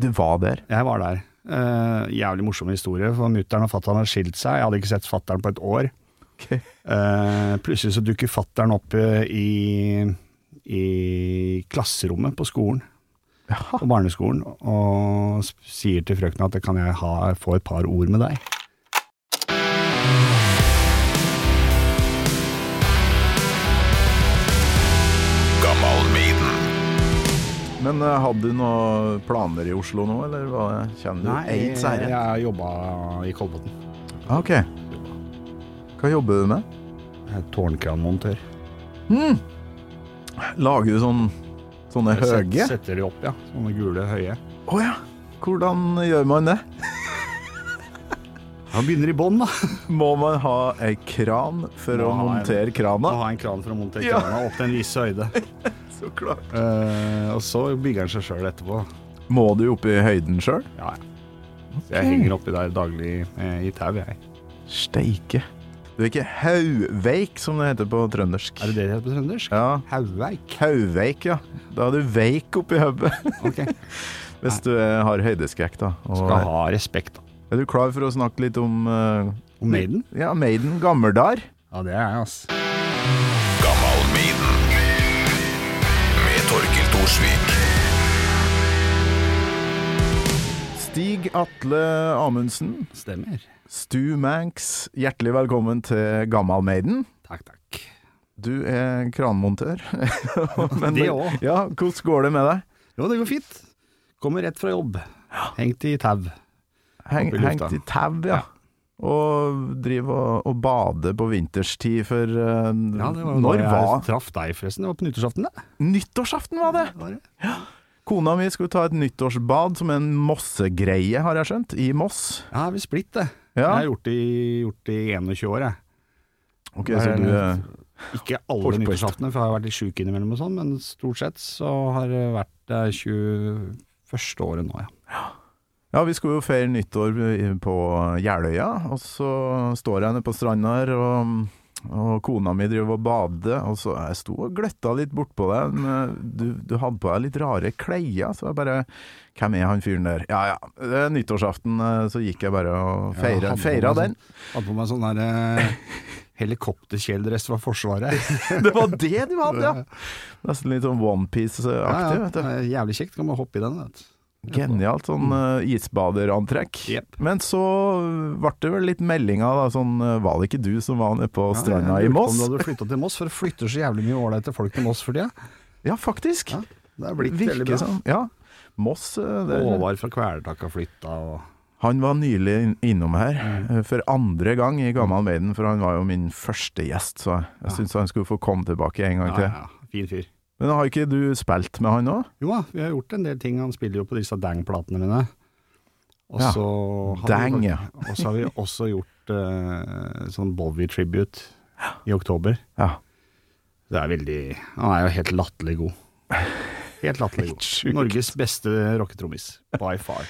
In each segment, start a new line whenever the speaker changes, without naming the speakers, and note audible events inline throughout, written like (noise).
Du var der.
Jeg var der. Eh, jævlig morsom historie, for mutter'n og fatter'n har skilt seg. Jeg hadde ikke sett fatter'n på et år.
Ok.
Eh, plutselig så dukker fatter'n opp eh, i, i klasserommet på skolen, på barneskolen, og s- sier til frøkna at kan jeg ha, få et par ord med deg?
Men eh, hadde du noen planer i Oslo nå, eller hva kjenner du?
jeg,
Aids er
jeg
det.
har jobba i Kolbotn.
Ah, Ok. Hva jobber du med?
Jeg er Tårnkranmontør.
Lager du sånn, sånne
Set-
høye?
Setter de opp, ja. Sånne gule, høye.
Å ja. Hvordan gjør man det? (laughs)
Han begynner i bånn, da.
Må man ha ei kran for å
Må ha en-
montere
Må
krana?
ha en kran for å montere
Ja.
krana opp til en viss høyde.
Så klart.
Eh, og så bygger han seg sjøl etterpå.
Må du opp i høyden sjøl?
Ja, ja. Så jeg henger oppi der daglig eh, i tau, jeg.
Steike. Du er ikke haugveik, som det heter på trøndersk.
Er det det det heter på trøndersk?
Ja.
Hauveik.
Haugveik, ja. Da er du veik oppi hodet.
Ok.
(laughs) Hvis du eh, har høydeskrekk, da. Og
Skal ha respekt, da.
er du klar for å snakke litt om eh,
Og Maiden?
Ja, Maiden Gammeldar?
Ja, det er jeg, ass.
Gammalmiden med Torkil Thorsvik.
Stig Atle Amundsen,
Stemmer.
Stu Manx, hjertelig velkommen til Gammal Maiden.
Takk, takk.
Du er kranmontør. (laughs) Men-
Det også.
Ja, hvordan går det med deg?
Jo, det går fint. Kommer rett fra jobb. Hengt i tau.
Heng,
Opp i lufta.
hengt i tau, ja. Og driver og, og bader på vinterstid for eh,
da
Når
jeg
var
Traff deg, forresten. Det var på nyttårsaften, det.
Nyttårsaften var det!
Var det?
Kona mi skulle ta et nyttårsbad, som er en mossegreie, har jeg skjønt, i Moss.
Ja, vi splitt, det. Jeg
Ja,
har gjort det i, gjort det i 21 år, jeg.
ok, så du eh,
Ikke alle
Forspørsel.
nyttårsaftene, for jeg har vært litt sjuk innimellom og sånn, men stort sett så har det vært det 21. året nå, ja.
Ja, vi skulle jo feire nyttår i- på Jeløya, og så står jeg nede på stranda her, og, og kona mi driver og bader, og så jeg sto og gløtta litt bortpå deg, men eh, du, du hadde på deg litt rare klær, så jeg bare Hvem er han fyren der? Ja ja, det er nyttårsaften, eh, så gikk jeg bare og
Ja,
feira
hadde på
feira
meg
den.
sånn- Hadde på meg sånn der eh, helikopterkjeledress fra Forsvaret.
(laughs) Det var det du
(laughs)
hadde, (laughs) ja! Nesten litt sånn
Ja,
Onepiece-aktig,
ja,
vet du.
det er Jævlig kjekt, kan man hoppe i den. Vet. du.
Genialt sånn eh, isbaderantrekk.
Mm. Jep.
Men så ble det vel litt meldinger, da. Sånn, eh, var det ikke du som var nede på stranda
jeg
i
lurte på
Moss?
Om du hadde flytta til Moss, for det flytter så jævlig mye ålreite folk til Moss for tida.
Ja, faktisk.
Ja, det er blitt
Virker
veldig bra.
sånn. Ja. Moss eh, der,
Håvard fra Kvelertak har flytta og
Han var nylig inn- innom her
Mm.
eh, for andre gang i Gammal Maiden, for han var jo min første gjest, så jeg, jeg syns han skulle få komme tilbake en gang
ja,
til.
ja, Fin fyr.
Men har ikke du spilt med han òg?
Jo da, vi har gjort en del ting. Han spiller jo på disse Dang-platene mine. Og
Ja.
så har
Dang,
vi,
ja.
Og så har vi også gjort eh, sånn Bowie-tribute i oktober.
Ja.
Det er veldig Han er jo helt latterlig god. Helt latterlig god. Norges beste rocketrommis, by far.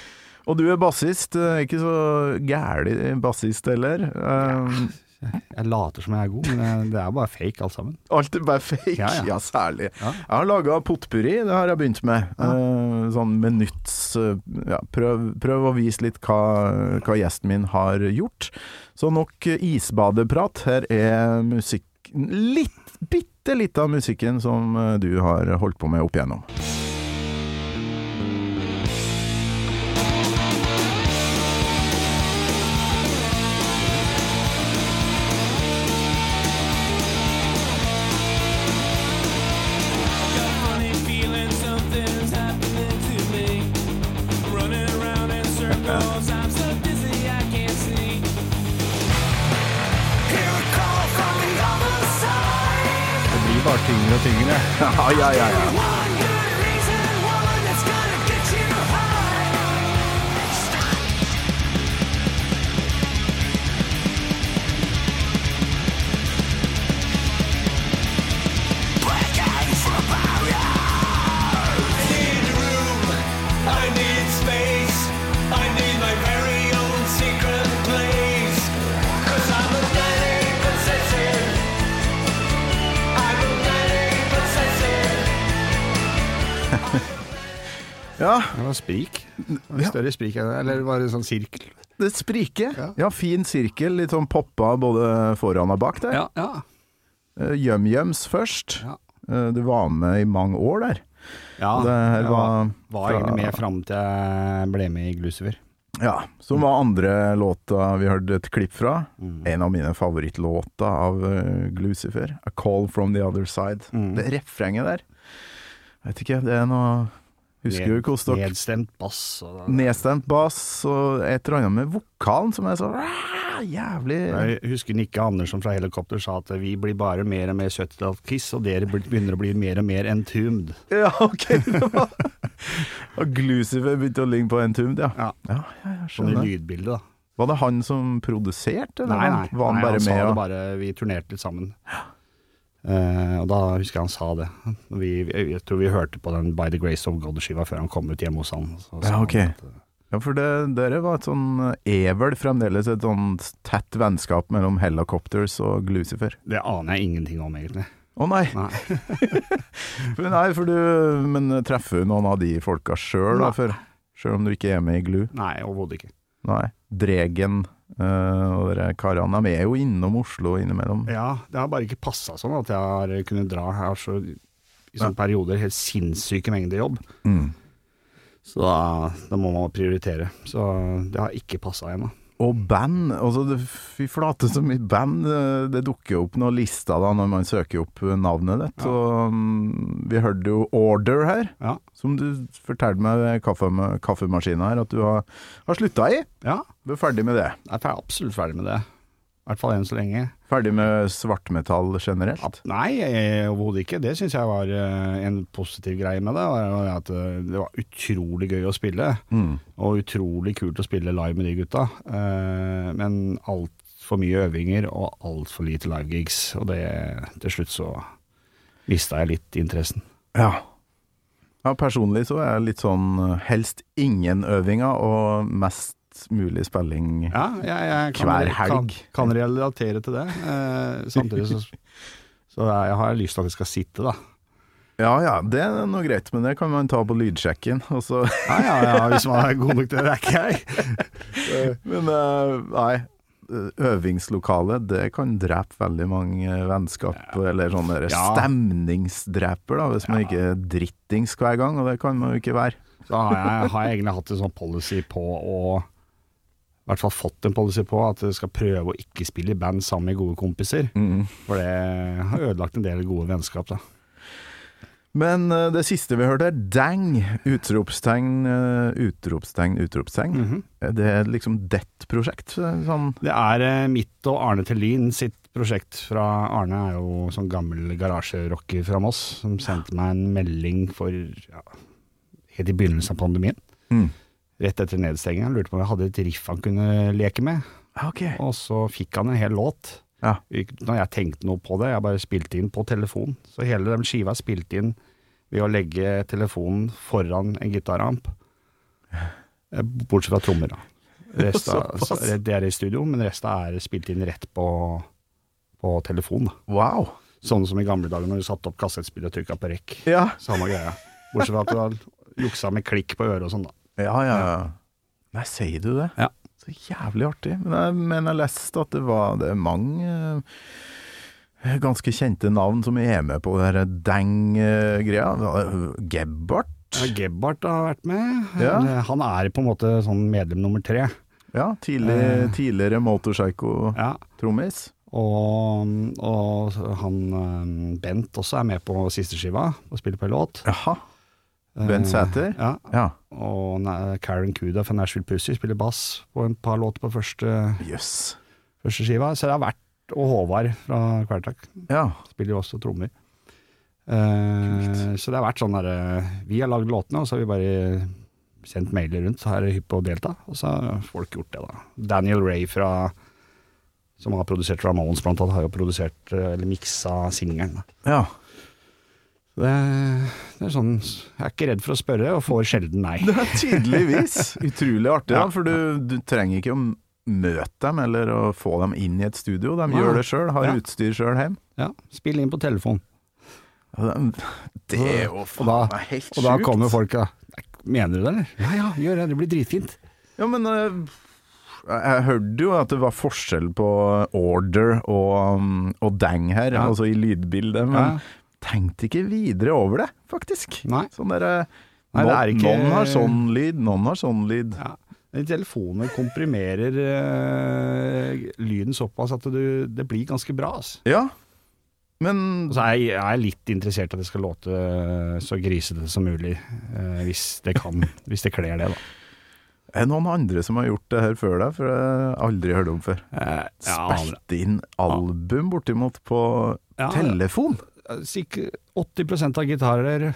Og du er bassist, eh, ikke så gæli bassist heller. Eh,
Jeg later som jeg er god, men jeg- det er bare fake alt sammen.
Alt er bare fake. (laughs) Ja,
Ja, ja.
særlig.
Ja.
Jeg har laga potpurri, det har jeg begynt med. Eh, sånn med nytts eh, ja, prøv, prøv å vise litt hva, hva gjesten min har gjort. Så nok eh, isbadeprat. Her er musikk Litt, bitte litt av musikken som eh, du har holdt på med opp igjennom.
Det blir bare tyngre og tyngre.
(laughs) Ja, ja, ja, ja.
One good reason, woman, that's gonna get you high.
Ja,
Det var sprik. Det var en Større sprik enn det. Eller var det sånn sirkel?
det spriker.
Ja.
Ja, fin sirkel, litt sånn poppa både foran og bak der.
Ja, ja.
Eh, Yum-yums først.
Ja.
Eh, Du var med i mange år der.
ja
det her
jeg
var,
var egentlig med fram til jeg ble med i Glucifer.
Ja, som var andre låta vi hørte et klipp fra.
Mm.
En av mine favorittlåter av eh, Glucifer, 'A Call From The Other Side'.
Mm.
Det refrenget der, vet ikke, det er noe Husker du hvordan dere
Nedstemt bass. Og
Nedstemt bass og et eller annet med vokalen som er så "Rah!" jævlig
Jeg husker Nikke Andersson fra Helikopter sa at vi blir bare mer og mer 70-tallskiss, og dere blir- begynner å bli mer og mer entombed.
(laughs) Ja, ok! (laughs) det var- Og Glucifer begynte å ligne på Entombed, ja.
Ja.
ja, ja jeg
Sånn i
skjønner.
lydbildet, da.
Var det han som produserte, eller
Nei, nei.
var han
nei, han
bare med?
sa det
og-
bare Vi turnerte litt sammen. Eh, og da husker jeg han sa det. Vi, vi- jeg tror vi hørte på den By the Grace of God-skiva før han kom ut hjemme hos han. Så, sa
Ja, ok.
han at, eh,
Ja, for det, dere var et sånn Er vel fremdeles et sånn tett vennskap mellom Helicopters og Glucifer?
det aner jeg ingenting om, egentlig.
Å nei!
Nei.
For, (laughs) nei for du, men eh, treffer du noen av de folka sjøl,
Nei.
da? For, selv om du ikke er med i Glu?
Nei, overhodet ikke.
Nei. Dregen eh, og dere karene, de er jo innom Oslo innimellom.
Ja, det har bare ikke passa sånn at jeg har kunnet dra. Jeg har så, i sånne perioder helt sinnssyke mengder jobb.
Mm.
Så da, da må man prioritere. Så det har ikke passa ennå.
Og band, altså det, fy flate så mye band, eh, det dukker jo opp noen lister da når man søker opp eh, navnet ditt. Og, mm, vi hørte jo Order her.
Ja.
Som du fortalte meg ved kaffe, kaffemaskina her, at du har, har slutta i.
ja,
Du er ferdig med det.
jeg er fer- absolutt ferdig med det. I hvert fall enn så lenge.
Ferdig med svartmetall generelt.
Nei, eh, overhodet ikke. Det syns jeg var eh, en positiv greie med det. var At eh, det var utrolig gøy å spille,
Mm.
og utrolig kult å spille live med de gutta. Eh, Men altfor mye øvinger og altfor lite livegigs. Og det, til slutt så mista jeg litt interessen.
Ja. ja. Personlig så er jeg litt sånn eh, helst ingen øvinger og mest mulig spilling.
Ja, jeg, jeg kan,
Hver
kan,
helg.
kan relatere til det. Eh, samtidig (laughs) så, så jeg har lyst til at det skal sitte, da.
Ja ja, det er noe greit, men det kan man ta på lydsjekken. Og så (laughs)
Ja, ja, ja, hvis man er god nok til det, det er ikke jeg.
(laughs) Men eh, nei, eh, øvingslokalet det kan drepe veldig mange eh, vennskap, eller sånne der
Ja.
stemningsdreper, da, hvis man ikke er drittings hver gang, og det kan man jo ikke være.
Så har jeg, har jeg egentlig hatt en sånn policy på å I hvert fall fått en policy på at jeg skal prøve å ikke spille i band sammen med gode kompiser. For det har ødelagt en del gode vennskap, da.
Men eh, det siste vi hørte er dang! Utropstegn, eh, utropstegn, utropstegn.
Mhm.
Det er liksom ditt prosjekt. Sånn.
Det er eh, mitt og Arne Tellin sitt prosjekt fra Arne er jo sånn gammel garasjerocker fra Moss, som sendte meg en melding for ja, helt i begynnelsen av pandemien.
Mm.
Rett etter nedstengingen. Han lurte på om jeg hadde et riff han kunne leke med.
Ok.
Og så fikk han en hel låt.
Ja.
Ikke- Når jeg tenkte noe på det, jeg bare spilte inn på telefon. Så hele den skiva er spilt inn ved å legge telefonen foran en gitaramp. Eh, Bortsett fra trommer,
(laughs)
da. Resta,
Såpass.
så- det er i studio, men resta er spilt inn rett på, på telefon. Da.
Wow.
Sånn som i gamle dager når du satte opp kassettspill og trykka på rekk.
Ja.
(laughs) Samme greia. Bortsett fra at du har juksa med klikk på øret og sånn, da.
Ja, ja, ja. Nei, sier du det?
Ja.
Så jævlig artig. Men jeg, men jeg leste at det var det er mange eh, ganske kjente navn som er med på det her dang-greia. Gebbart.
Ja, Gebhardt har vært med.
Ja.
Eh, Han er på en måte sånn medlem nummer tre.
Ja, tidlig, tidligere motorpsycho-trommis.
Ja. Og, og han eh, Bent også er med på siste skiva og spiller på en låt. Eh,
Jaha. Bent Sæther?
Ja.
Ja.
Og na- Karen Kuda fra Nashville Pussy spiller bass på en par låter på første,
Jøss.
første skiva. Så det har vært Og Håvard fra Kvelertak
Ja.
spiller jo også trommer. Eh, så det har vært sånn derre Vi har lagd låtene, og så har vi bare sendt mailer rundt. Her er hypp på å delta. Og så har folk gjort det, da. Daniel Ray fra som har produsert Ramones, blant annet, har jo produsert eh, eller miksa singelen. da.
ja.
Så Det, det er sånn Jeg er ikke redd for å spørre, og får sjelden nei.
Det er tydeligvis utrolig artig, da,
Ja.
for du, du trenger ikke å m- møte dem eller å få dem inn i et studio. De
Nei.
gjør det sjøl, har
Ja.
utstyr sjøl hjemme.
Ja, Spill inn på telefon.
Ja, Det det er jo
Og da,
faen meg helt sjukt.
og da kommer folk, da. Mener du det, eller? Ja ja, gjør det. Det blir dritfint.
Ja, men eh, jeg, jeg hørte jo at det var forskjell på eh, order og, um, og dang her,
Ja.
altså i lydbildet, men
Ja.
tenkte ikke videre over det, faktisk.
Nei.
Sånn der,
Nei, det er
noen-
ikke-
Noen har sånn lyd, noen har sånn lyd.
Ja. Men Telefoner komprimerer eh, lyden såpass at du, det blir ganske bra. ass.
Ja, men
Og så er jeg, jeg er litt interessert i at det skal låte eh, så grisete som mulig, eh, hvis det kan. hvis det kler det, da.
er det noen andre som har gjort det her før deg? For jeg har aldri hørt om før.
Eh, jeg aner-
Spilt inn album bortimot på
Ja, ja.
telefon?
Sikkert 80 av gitarer,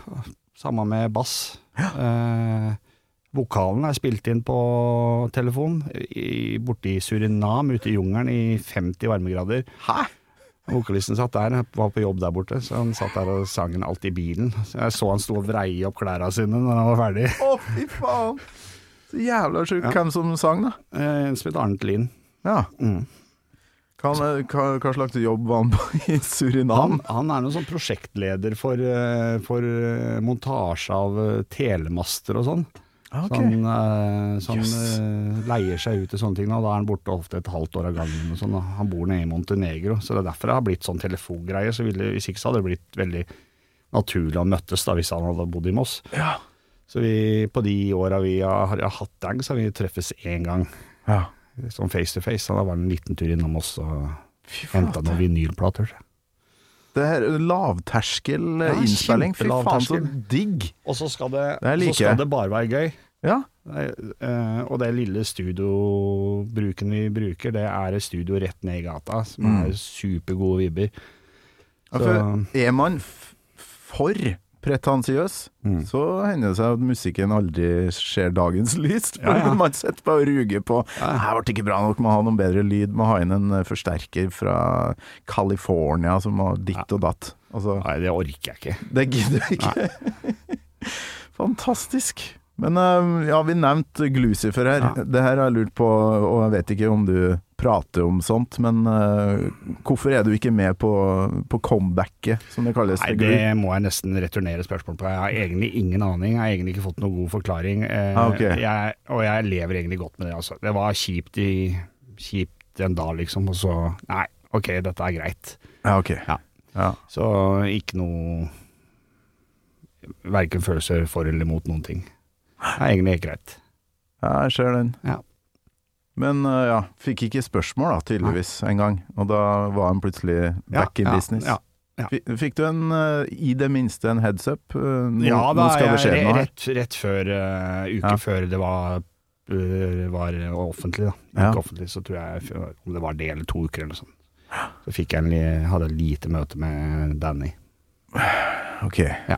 samme med bass. Eh, vokalen er spilt inn på telefon i, borte i Surinam, ute i jungelen i 50 varmegrader.
Hæ?
Vokalisten satt der, var på jobb der borte, så han satt der og sang den alt i bilen. Så jeg så han sto og vrei opp klærne sine når han var ferdig.
Å, fy faen! Så jævla sjukt.
Ja.
Hvem som sang, da?
Eh, En som het Arnt Lien.
Ja.
Mm.
Hva, eh, hva, hva slags jobb var han på (laughs) i Surinam?
Han, han er noen sånn prosjektleder for, eh, for eh, montasje av eh, telemaster og sånn.
Ah, ok.
Så han, eh, så han
Yes.
eh, leier seg ut til sånne ting, da. da er han borte ofte et halvt år av gangen. Og sånn, da. han bor nede i Montenegro, så det er derfor det har blitt sånn telefongreie. Så ville, hvis ikke så hadde det blitt veldig naturlig å møttes da, hvis han hadde bodd i Moss.
Ja.
Så vi, på de åra vi har, har hatt dang, så har vi treffes én gang,
ja.
sånn face to face. Så da var det en liten tur innom oss og
Fy faen.
henta noen vinylplater.
Det her er lavterskel eh,
Ja,
innspilling. Fy faen, så
kjempelavterskel.
digg!
Og så skal det,
Det liker
så skal
jeg.
det bare være gøy.
Ja.
Nei, eh, og det lille studiobruken vi bruker, det er et studio rett ned i gata, som
Mm.
er supergode vibber.
Ja,
Så,
for Er man f for pretensiøs,
Mm.
så hender det seg at musikken aldri ser dagens lys.
Ja, ja.
man sitter bare og ruger på Nei, det ble ikke bra nok, må ha noen bedre lyd, må ha inn en eh, forsterker fra California som har ditt og datt. Altså,
nei, det orker jeg ikke.
det gidder vi ikke. (laughs) Fantastisk. Men eh, ja, vi nevnte Glucifer her.
Ja.
Det her har jeg lurt på, og jeg vet ikke om du prater om sånt, men eh, hvorfor er du ikke med på, på comebacket, som det kalles?
Nei,
til
det
Glu?
må jeg nesten returnere spørsmålet på. Jeg har egentlig ingen aning. Jeg har egentlig ikke fått noen god forklaring. Eh,
Ah, ok.
jeg, og jeg lever egentlig godt med det, altså. Det var kjipt, i, kjipt en dag, liksom, og så Nei, ok, dette er greit.
Ja, ok.
Ja.
Ja.
Så ikke noe Verken følelser for eller mot noen ting. Det er egentlig helt greit.
Ja, jeg ser den.
Ja.
Men øh, ja, fikk ikke spørsmål da, tydeligvis en gang, og da var han plutselig back in
ja,
business.
Ja, ja.
Fi- Fikk du en, øh, i det minste en heads up? Øh, Nå,
ja da,
nå skal det
jeg-
skje noe her.
rett, rett før eh, uke
Ja.
før det var, eh, var offentlig, da. Ikke
Ja.
offentlig, så tror jeg f- om det var det eller to uker eller noe sånt. Så fikk jeg en, li- hadde jeg lite møte med Danny.
Ok.
Ja.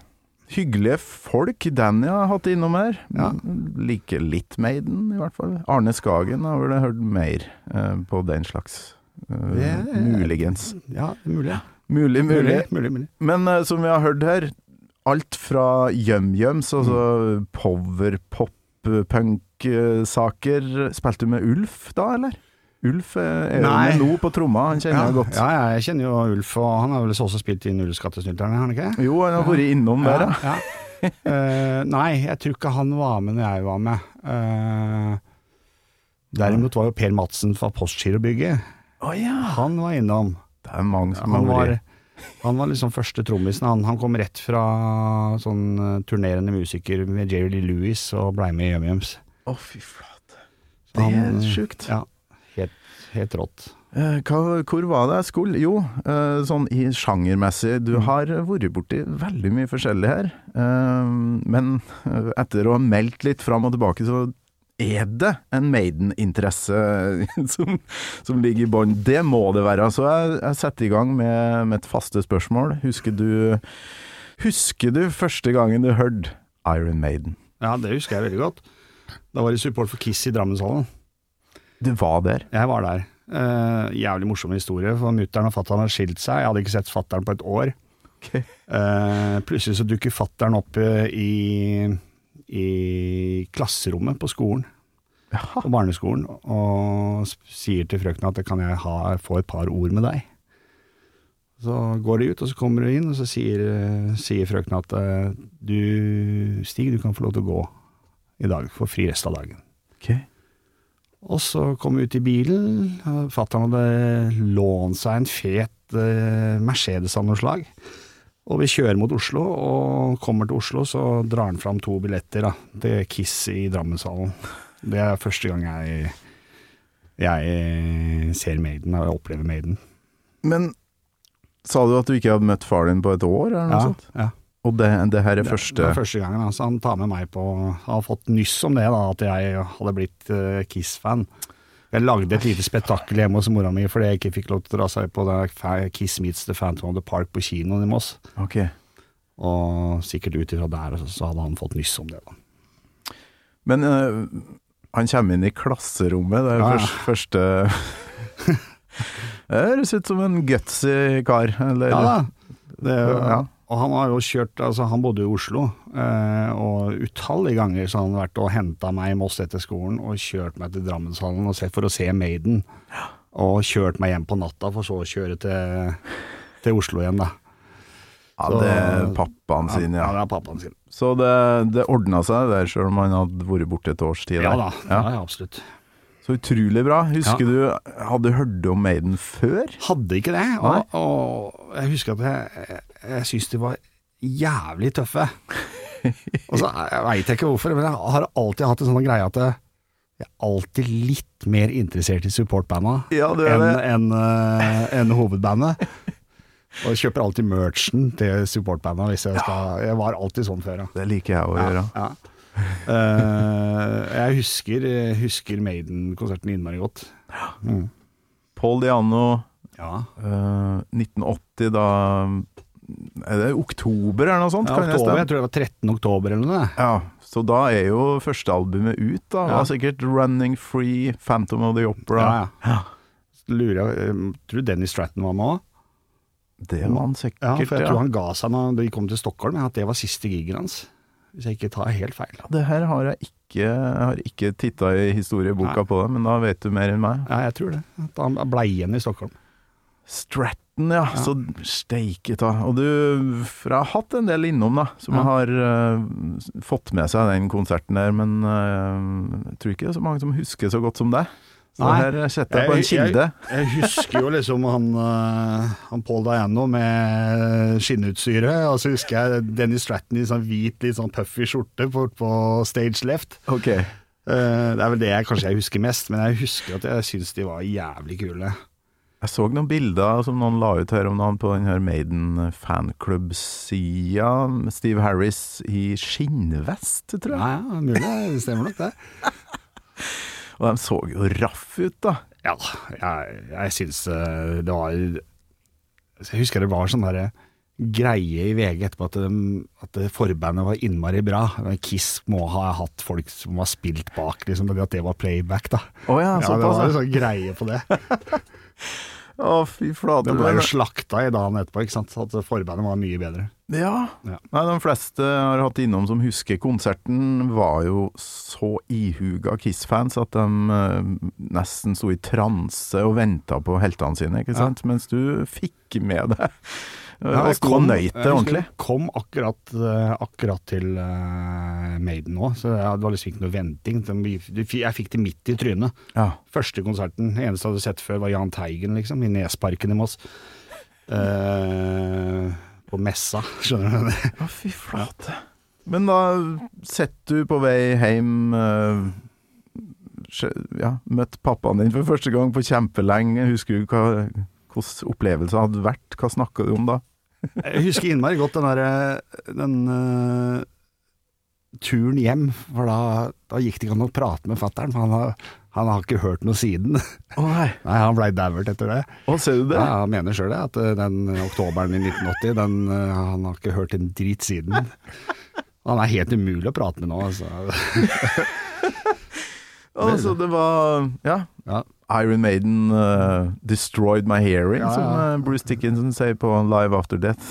Hyggelige folk Danny har hatt innom her.
Ja.
Like litt Maiden, i hvert fall. Arne Skagen har vel hørt mer øh, på den slags. øh,
Det-
Muligens.
Ja, mulig.
Mulig, mulig.
mulig, mulig.
Men eh, som vi har hørt her, alt fra yum-yums,
Mm.
altså powerpop, punk-saker Spilte du med Ulf da, eller? Ulf eh, er jo
Nei.
med nå på tromma, han kjenner
Ja,
jeg godt.
ja, jeg kjenner jo Ulf, og han har vel også spilt i Nullskattesnylterne, har han ikke?
Jo, han har vært innom der, ja.
ja. (laughs) Eh, nei, jeg tror ikke han var med når jeg var med. Eh, derimot var jo Per Madsen fra Postgirobygget.
Å ja.
Han var innom.
Det er mange som
Han
har
var,
vært
han var liksom første trommisen. Han, han kom rett fra sånn eh, turnerende musiker med Jerry Lee Lewis og blei med i YumYums.
Å, fy flate.
Så
Det er
han, eh,
sjukt.
Ja, helt, helt rått.
Eh, hva, hvor var det jeg skulle? Jo, eh, sånn i sjangermessig, du har eh, vært borti veldig mye forskjellig her. Eh, men eh, etter å ha meldt litt fram og tilbake, så er det en Maiden-interesse (laughs) som, som ligger i bånn. Det må det være. Så jeg, jeg setter i gang med mitt faste spørsmål. Husker du, husker du første gangen du hørte Iron Maiden?
Ja, det husker jeg veldig godt. Da var det support for Kiss i Drammenshallen.
Du var der?
Jeg var der. Eh, jævlig morsom historie, for mutter'n og fatter'n har skilt seg. Jeg hadde ikke sett fatter'n på et år.
Ok.
Eh, plutselig så dukker fatter'n opp eh, i, i klasserommet på skolen.
Jaha.
på barneskolen og s- sier til frøkna at kan jeg ha, få et par ord med deg. Så går de ut, og så kommer du inn, og så sier, eh, sier frøkna at eh, du, Stig, du kan få lov til å gå. i dag. Får fri resten av dagen.
Ok.
Og så kom vi ut i bilen. Fatter'n hadde lånt seg en fet eh, Mercedes av noe slag. Og vi kjører mot Oslo, og kommer til Oslo, så drar han fram to billetter da, til Kiss i Drammenshallen. Det er første gang jeg, jeg ser Maiden og opplever Maiden.
Men sa du at du ikke hadde møtt far din på et år, eller noe sånt?
ja.
Og det, det her er
Det
første
var første gangen. Altså, han tar med meg på Han har fått nyss om det, da, at jeg hadde blitt eh, Kiss-fan. Jeg lagde et lite spetakkel hjemme hos mora mi fordi jeg ikke fikk lov til å dra seg på det fa- Kiss meets The Phantom of the Park på kinoen i Moss.
Ok.
Og sikkert ut ifra der så, så hadde han fått nyss om det. da.
Men eh, han kommer inn i klasserommet, det er
Ja, ja.
først- første
(laughs)
Det høres ut som en gutsy kar, eller
Ja da. Det,
Ja.
Og han har jo kjørt Altså, han bodde i Oslo, eh, og utallige ganger så har han vært og henta meg i Moss etter skolen og kjørt meg til Drammenshallen og sett for å se Maiden. Og kjørt meg hjem på natta, for så å kjøre til, til Oslo igjen, da.
Ja,
Så-
det er pappaen sin,
ja.
ja.
det er pappaen sin.
Så det, det ordna seg der, sjøl om han hadde vært borte et års tid.
Ja
der.
da, ja. ja absolutt.
Så utrolig bra. Husker du Hadde du hørt om Maiden før?
Hadde ikke det. Og, og jeg husker at jeg, jeg syns de var jævlig tøffe.
(laughs)
Og så veit jeg ikke hvorfor, men jeg har alltid hatt en sånn greie at jeg jeg er alltid litt mer interessert i supportbanda
Ja, du er
enn
det.
enn, eh, enn hovedbandet. Og jeg kjøper alltid merchen til supportbanda hvis jeg skal Jeg var alltid sånn før, ja.
Det liker jeg å gjøre.
Ja. Eh, jeg husker, husker Maiden-konserten innmari godt.
Paul Diano,
Ja,
eh, 1980, da Er det oktober eller noe sånt?
ja
kan jeg
oktober,
stemme?
jeg tror det var 13. oktober eller noe. det.
Ja, så da er jo første albumet ut, da. Det
Ja.
var sikkert 'Running Free', 'Phantom of the Opera'.
Ja, ja. Så Lurer jeg, eh, tror du Dennis Stratton var med òg?
Det var han sikkert.
Ja, for jeg
ja.
tror han ga seg når de kom til Stockholm, at det var siste gigen hans. Hvis jeg ikke tar helt feil.
Det her har jeg ikke Jeg har ikke titta i historieboka på det, men da vet du mer enn meg.
Ja, jeg tror det. At han blei igjen i Stockholm.
Stratton, ja. Så steike ta. Og du, for jeg har hatt en del innom, da, som
Ja.
har eh, fått med seg den konserten der, men eh, jeg tror ikke det er så mange som husker så godt som deg. Så
Nei.
her setter jeg på en kilde.
Jeg, jeg husker jo liksom han, eh, han Paul Diano med skinnutstyret, og så husker jeg Dennis Stratton i sånn hvit, litt sånn puffy skjorte på, på stage left.
Ok.
Eh, det er vel det jeg kanskje jeg husker mest, men jeg husker at jeg syns de var jævlig kule.
Jeg så noen bilder som noen la ut her om dagen på den her Maiden fanklubb-sida. med Steve Harris i skinnvest, tror jeg.
Ja, ja, mulig det stemmer nok, det.
Og de så jo raff ut, da.
Ja, jeg, jeg syns eh, det var Jeg husker det var sånn derre greie i VG etterpå at, de, at det forbandet var innmari bra. Kiss må ha hatt folk som var spilt bak, liksom, men at det var playback, da.
Å ja,
Ja, det
såpass.
var en
ja.
sånn greie på
(laughs)
det.
Å, fy flate.
Det ble
men-
jo slakta i dagen etterpå, ikke sant. At forbandet var mye bedre.
Ja.
Ja.
Nei, de fleste jeg har hatt innom som husker konserten, var jo så ihuga Kiss-fans at de eh, nesten sto i transe og venta på heltene sine, ikke sant? Mens du fikk med deg
Ja,
og
jeg kom-
nøyt
jeg
det
husker
ordentlig.
jeg Kom akkurat, eh, akkurat til eh, Maiden nå, så jeg- det var liksom ikke noe venting. De- de- Jeg fikk det midt i trynet.
Ja.
Første konserten, det eneste jeg hadde sett før, var Jahn Teigen, liksom, i Nesparken i Moss. Eh, på messa, (laughs) skjønner du? det?
Å, fy flate. Men da sitter du på vei hjem eh, skje- ja, Møtt pappaen din for første gang på kjempelenge. Husker du hva hvordan opplevelsen hadde vært? Hva snakka du om da?
Jeg husker innmari godt den derre Den eh, turen hjem, for da, da gikk det ikke an å prate med fattern, for han har, han har ikke hørt noe siden. (laughs)
Å nei.
Nei, han blei dauert etter det.
Å, ser du det?
Ja, han mener sjøl det, at eh, den oktoberen i 1980, den, eh, han har ikke hørt en drit (laughs) siden. Han er helt umulig å prate med nå, altså.
Altså, det var Ja.
Ja.
Iron Maiden eh, 'Destroyed My Hearing',
Ja, ja.
som eh, Bruce Dickinson sier på Live After Death.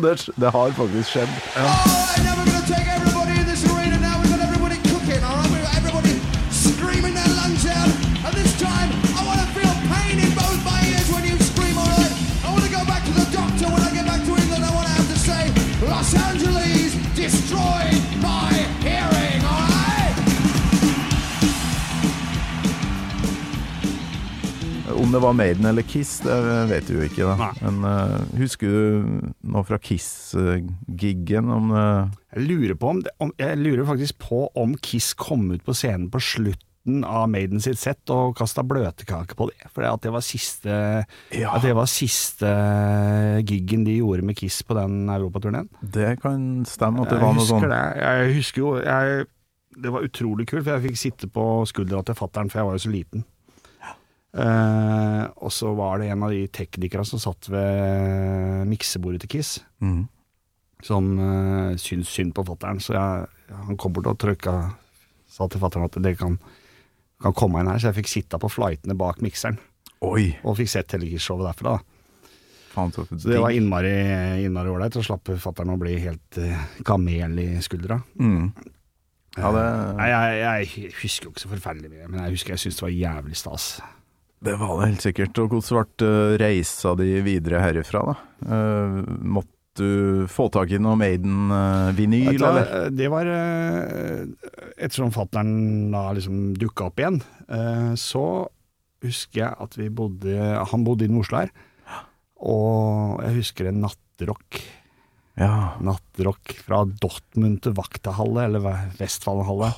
det, det har faktisk skjedd.
Oh, and now we're going to take everybody in this arena now. We've got everybody cooking, all right? We've got everybody screaming their lungs out. And this time, I want to feel pain in both my ears when you scream, all right? I want to go back to the doctor when I get back to England. I want to have to say, Los Angeles destroyed my hearing, all right?
det var Maiden eller Kiss, det vet du jo ikke. da.
Nei.
Men eh, husker du noe fra Kiss-giggen om eh,
Jeg lurer, på om, det- om, jeg lurer faktisk på om Kiss kom ut på scenen på slutten av Maiden sitt sett og kasta bløtkake på det. For at det var siste
Ja.
At det var siste giggen de gjorde med Kiss på den europaturneen.
Det kan stemme at det
Jeg
var noe sånn.
husker
sånt.
det. Jeg husker jo jeg, Det var utrolig kult, for jeg fikk sitte på skuldra til fattern, for jeg var jo så liten. Eh, og så var det en av de teknikerne som satt ved miksebordet til Kiss,
Mhm.
som eh, syntes synd på fattern. Så jeg, han kom bort og trykka Sa til fattern at dere kan, kan komme inn her. Så jeg fikk sitta på flightene bak mikseren,
Oi!
og fikk sett hele Kiss-showet derfra. da
Faen, så
så det var
digg.
innmari innmari ålreit. Så slapp fatter'n å bli helt eh, kamel i skuldra.
Mhm. Ja, det,
Nei, jeg, jeg husker jo ikke så forferdelig mye, men jeg husker jeg syntes det var jævlig stas.
det var det helt sikkert. Og hvordan ble eh, reisa di videre herifra, da? Eh, måtte du få tak i noe Maiden-vinyl,
Vet du hva,
eller?
Det var eh, Ettersom fatter'n da liksom dukka opp igjen, eh, så husker jeg at vi bodde Han bodde i Oslo her, og jeg husker en nattrock.
Ja,
Nattrock fra Dortmund til Vaktahalle, eller Vestfallenhalle.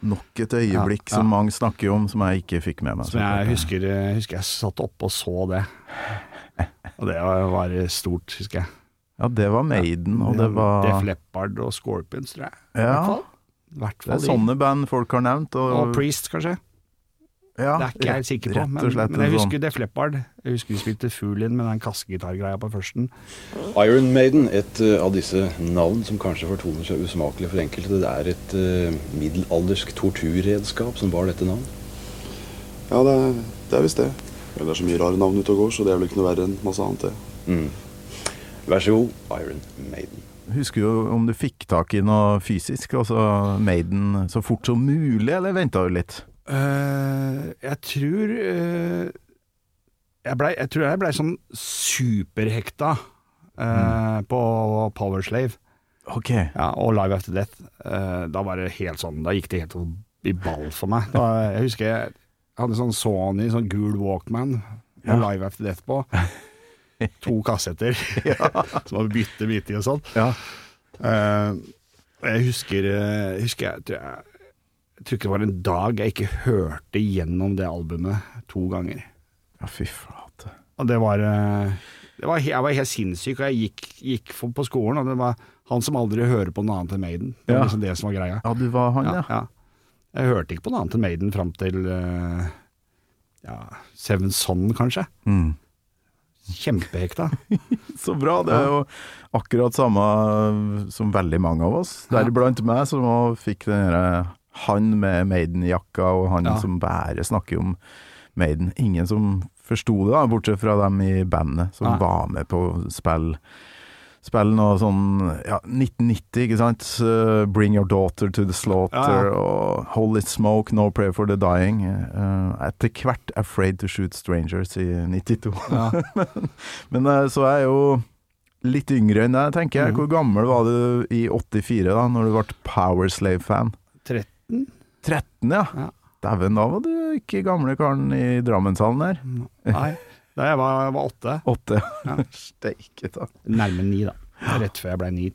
nok et øyeblikk
Ja, ja.
som mange snakker om, som jeg ikke fikk med meg.
Som jeg
selvfølgelig.
husker, jeg husker jeg satt oppe og så det. Og det var- var stort, husker jeg.
Ja, det var Maiden, og det var
Def Leppard og Scorpions, tror jeg. I hvert
Ja,
fall. I hvert
det
fall
er
de.
sånne band folk har nevnt. Og,
Og Priest, kanskje.
ja,
Det er ikke jeg helt sikker på.
rett
Men,
og slett altså.
men jeg
en sånn
husker Def Leppard. Jeg husker de spilte Fuglin med den kassegitargreia på førsten.
Iron Maiden, et eh, av disse navn som kanskje fortoner seg usmakelig for enkelte, det er et eh, middelaldersk torturredskap som bar dette navn.
Ja, det er, det er visst det. Men Det er så mye rare navn ute og går, så det er vel ikke noe verre enn masse annet, det.
Vær så god, Iron Maiden.
sånn Husker jo om du fikk tak i noe fysisk, altså Maiden så fort som mulig, eller venta du litt?
Eh, jeg tror eh, jeg, ble, jeg tror jeg blei sånn superhekta eh,
Mm.
på Powerslave.
Ok.
Ja, og Live After Death. eh, da var det helt sånn Da gikk det helt i ball for meg. Da, jeg husker jeg hadde sånn Sony, sånn gul Walkman, med
Ja.
Live After Death på. To
(laughs)
kassetter (laughs) som var bytte midt i og sånn.
Ja.
Eh, jeg husker, eh, husker jeg, tror jeg jeg tror ikke det var en dag jeg ikke hørte gjennom det albumet to ganger.
ja, fy flate.
Og det var, eh, det var he- Jeg var helt sinnssyk, og jeg gikk, gikk for- på skolen, og det var han som aldri hører på noe annet enn Maiden. Det var
Ja.
liksom det som var greia.
Ja, du var han, ja.
Ja, ja. Jeg hørte ikke på noe annet enn Maiden fram til eh, ja, Seven Son, kanskje.
Mm. (laughs)
Kjempehekta.
Så bra. Det er jo akkurat samme eh, som veldig mange av oss. Deriblant meg, som også fikk den derre han med Maiden-jakka, og han
Ja.
som bare snakker om Maiden. Ingen som forsto det, da, bortsett fra dem i bandet som
Nei.
var med på spill. Spill noe sånn ja, 1990, ikke sant? Eh, Bring Your Daughter to the
Ja,
Slaughter
ja.
og Holy Smoke, No Prayer for the Dying. eh, etter hvert Afraid to Shoot Strangers i 92. (laughs) Men eh, så er jeg jo litt yngre enn deg, tenker
Mm.
jeg. Hvor gammel var du i 84 da, når du ble Powerslave-fan?
13.
13, ja.
Ja.
Dæven, da var du ikke gamle karen i Drammenshallen der.
Mm. Nei, da jeg var, jeg var åtte.
Åtte. (laughs)
Ja.
Steike ta.
Nærme ni, da. Rett før jeg ble ni.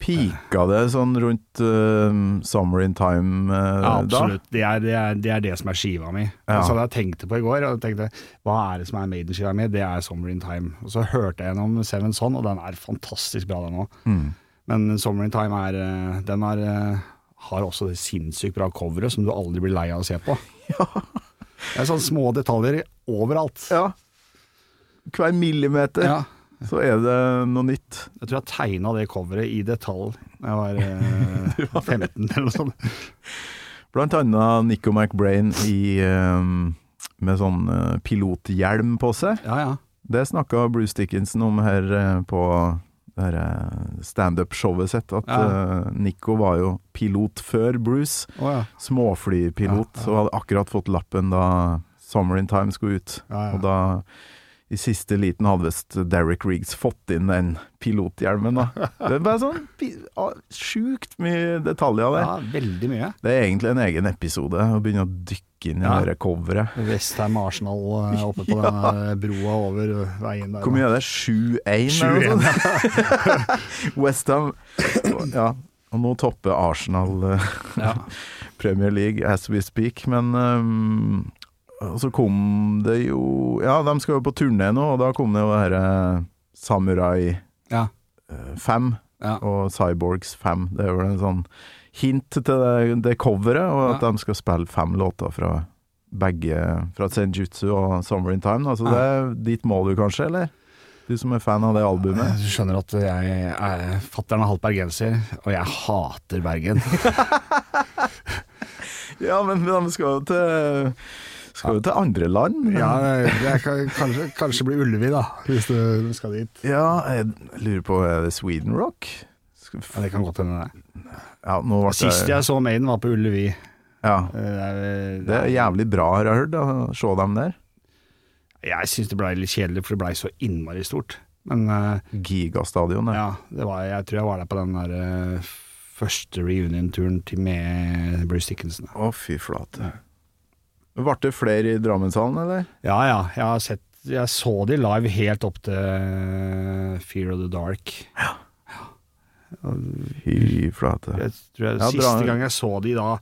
Pika det sånn rundt eh, Summer in Time eh,
Ja,
da?
absolutt. Det er, det, er, det er det som er skiva mi.
Ja.
Og Så hadde jeg tenkt det på i går. Og tenkte, Hva er det som er Maiden-skiva mi? Det er 'Summer in Time'. Og Så hørte jeg gjennom Seven Son, og den er fantastisk bra, den òg.
Mm.
Men 'Summer in Time' er, eh, den er, eh, har også det sinnssykt bra coveret som du aldri blir lei av å se
(laughs)
på. Det er sånne små detaljer overalt.
Ja. Hver millimeter
Ja.
så er det noe nytt.
Jeg tror jeg tegna det coveret i detalj da jeg
(laughs)
var eh, 15 eller noe sånt.
Blant annet Nico McBrain i, eh, med sånn eh, pilothjelm på seg.
Ja, ja.
Det snakka Bruce Dickinson om her eh, på det her, eh, standup-showet sitt, at
Ja.
eh, Nico var jo pilot før Bruce.
Å, ja.
Småflypilot,
Ja, ja.
og hadde akkurat fått lappen da Summer in Time skulle ut.
Ja, ja.
Og da, i siste liten, hadde visst Derek Riggs fått inn den pilothjelmen, da. Det er bare sånn bi- ah, sjukt mye detaljer der.
ja, veldig mye.
Det er egentlig en egen episode, å begynne å dykke gikk inn i
Ja.
det der coveret.
Vestheim Arsenal eh, oppe (laughs) på denne broa over eh, veien der.
Hvor mye er det? 7-1 eller noe sånt? (laughs) Westham Ja. Og nå topper Arsenal eh,
Ja.
(laughs) Premier League as we speak, men ehm, og Så kom det jo Ja, de skal jo på turné nå, og da kom det jo det herre Samurai
Ja.
5
Ja.
og Cyborgs 5. Det er vel en sånn hint til det, det coveret, og at
Ja.
de skal spille fem låter fra begge Fra Senjutsu og Summer in Time. Da. Så det er dit må du kanskje, eller? Du som er fan av det albumet.
eh, Du skjønner at jeg er fatter'n er halvt bergenser, og jeg hater (laughs) Bergen.
(laughs) Ja, men de skal jo til Skal jo til andre land. men-
Ja, eh, jeg kan kanskje, kanskje bli Ullevi, da, hvis du skal dit.
Ja, jeg lurer på Er det Sweden Rock? Skal-
Ja, det kan godt hende det.
Ja, nå ble
Sist jeg så Maiden, var på Ullevi.
ja,
Eh, Det er,
Det er jævlig bra, har jeg hørt, å se dem der.
Jeg syns det blei litt kjedelig, for det blei så innmari stort. Men eh,
Gigastadion, ja.
ja, det var, jeg tror jeg var der på den der eh, første reunion-turen til med Bruce Dickinson.
Å, fy flate. Ble det flere i Drammenshallen, eller?
Ja ja, jeg har sett Jeg så de live helt opp til Fear of the Dark.
Fy flate.
Jeg tror jeg,
Ja,
Siste
dra-
gang jeg så de da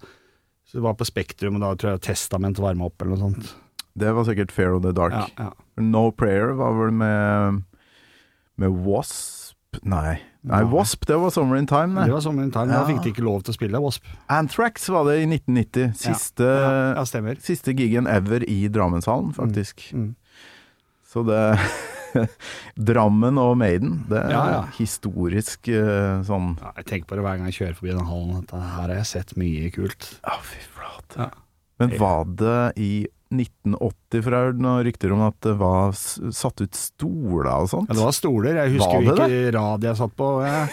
Så det var på Spektrum, og da tror jeg Testament varma opp eller noe sånt.
Det var sikkert Fair of the Dark.
Ja, ja.
No Prayer var vel med Med Wasp Nei.
Nei.
Nei, Wasp, det var Summer in Time,
Det
det.
var sommeren time, da
Ja.
fikk de ikke lov til å spille Wasp.
Anthrax var det i 1990. Siste,
Ja, ja stemmer.
siste gigen ever i Drammenshallen, faktisk.
Mm.
Så det (laughs) Drammen og Maiden, det er
Ja, ja.
historisk eh, sånn
Ja, jeg tenker på det hver gang jeg kjører forbi den hallen. At her har jeg sett mye kult.
Ja, fy flate.
Ja.
Men var det i 1980, for jeg hørte noen rykter om at det var s- satt ut stoler og sånt?
Ja, det var stoler. Jeg
Var
husker
det
hvilken rad jeg satt på. Jeg.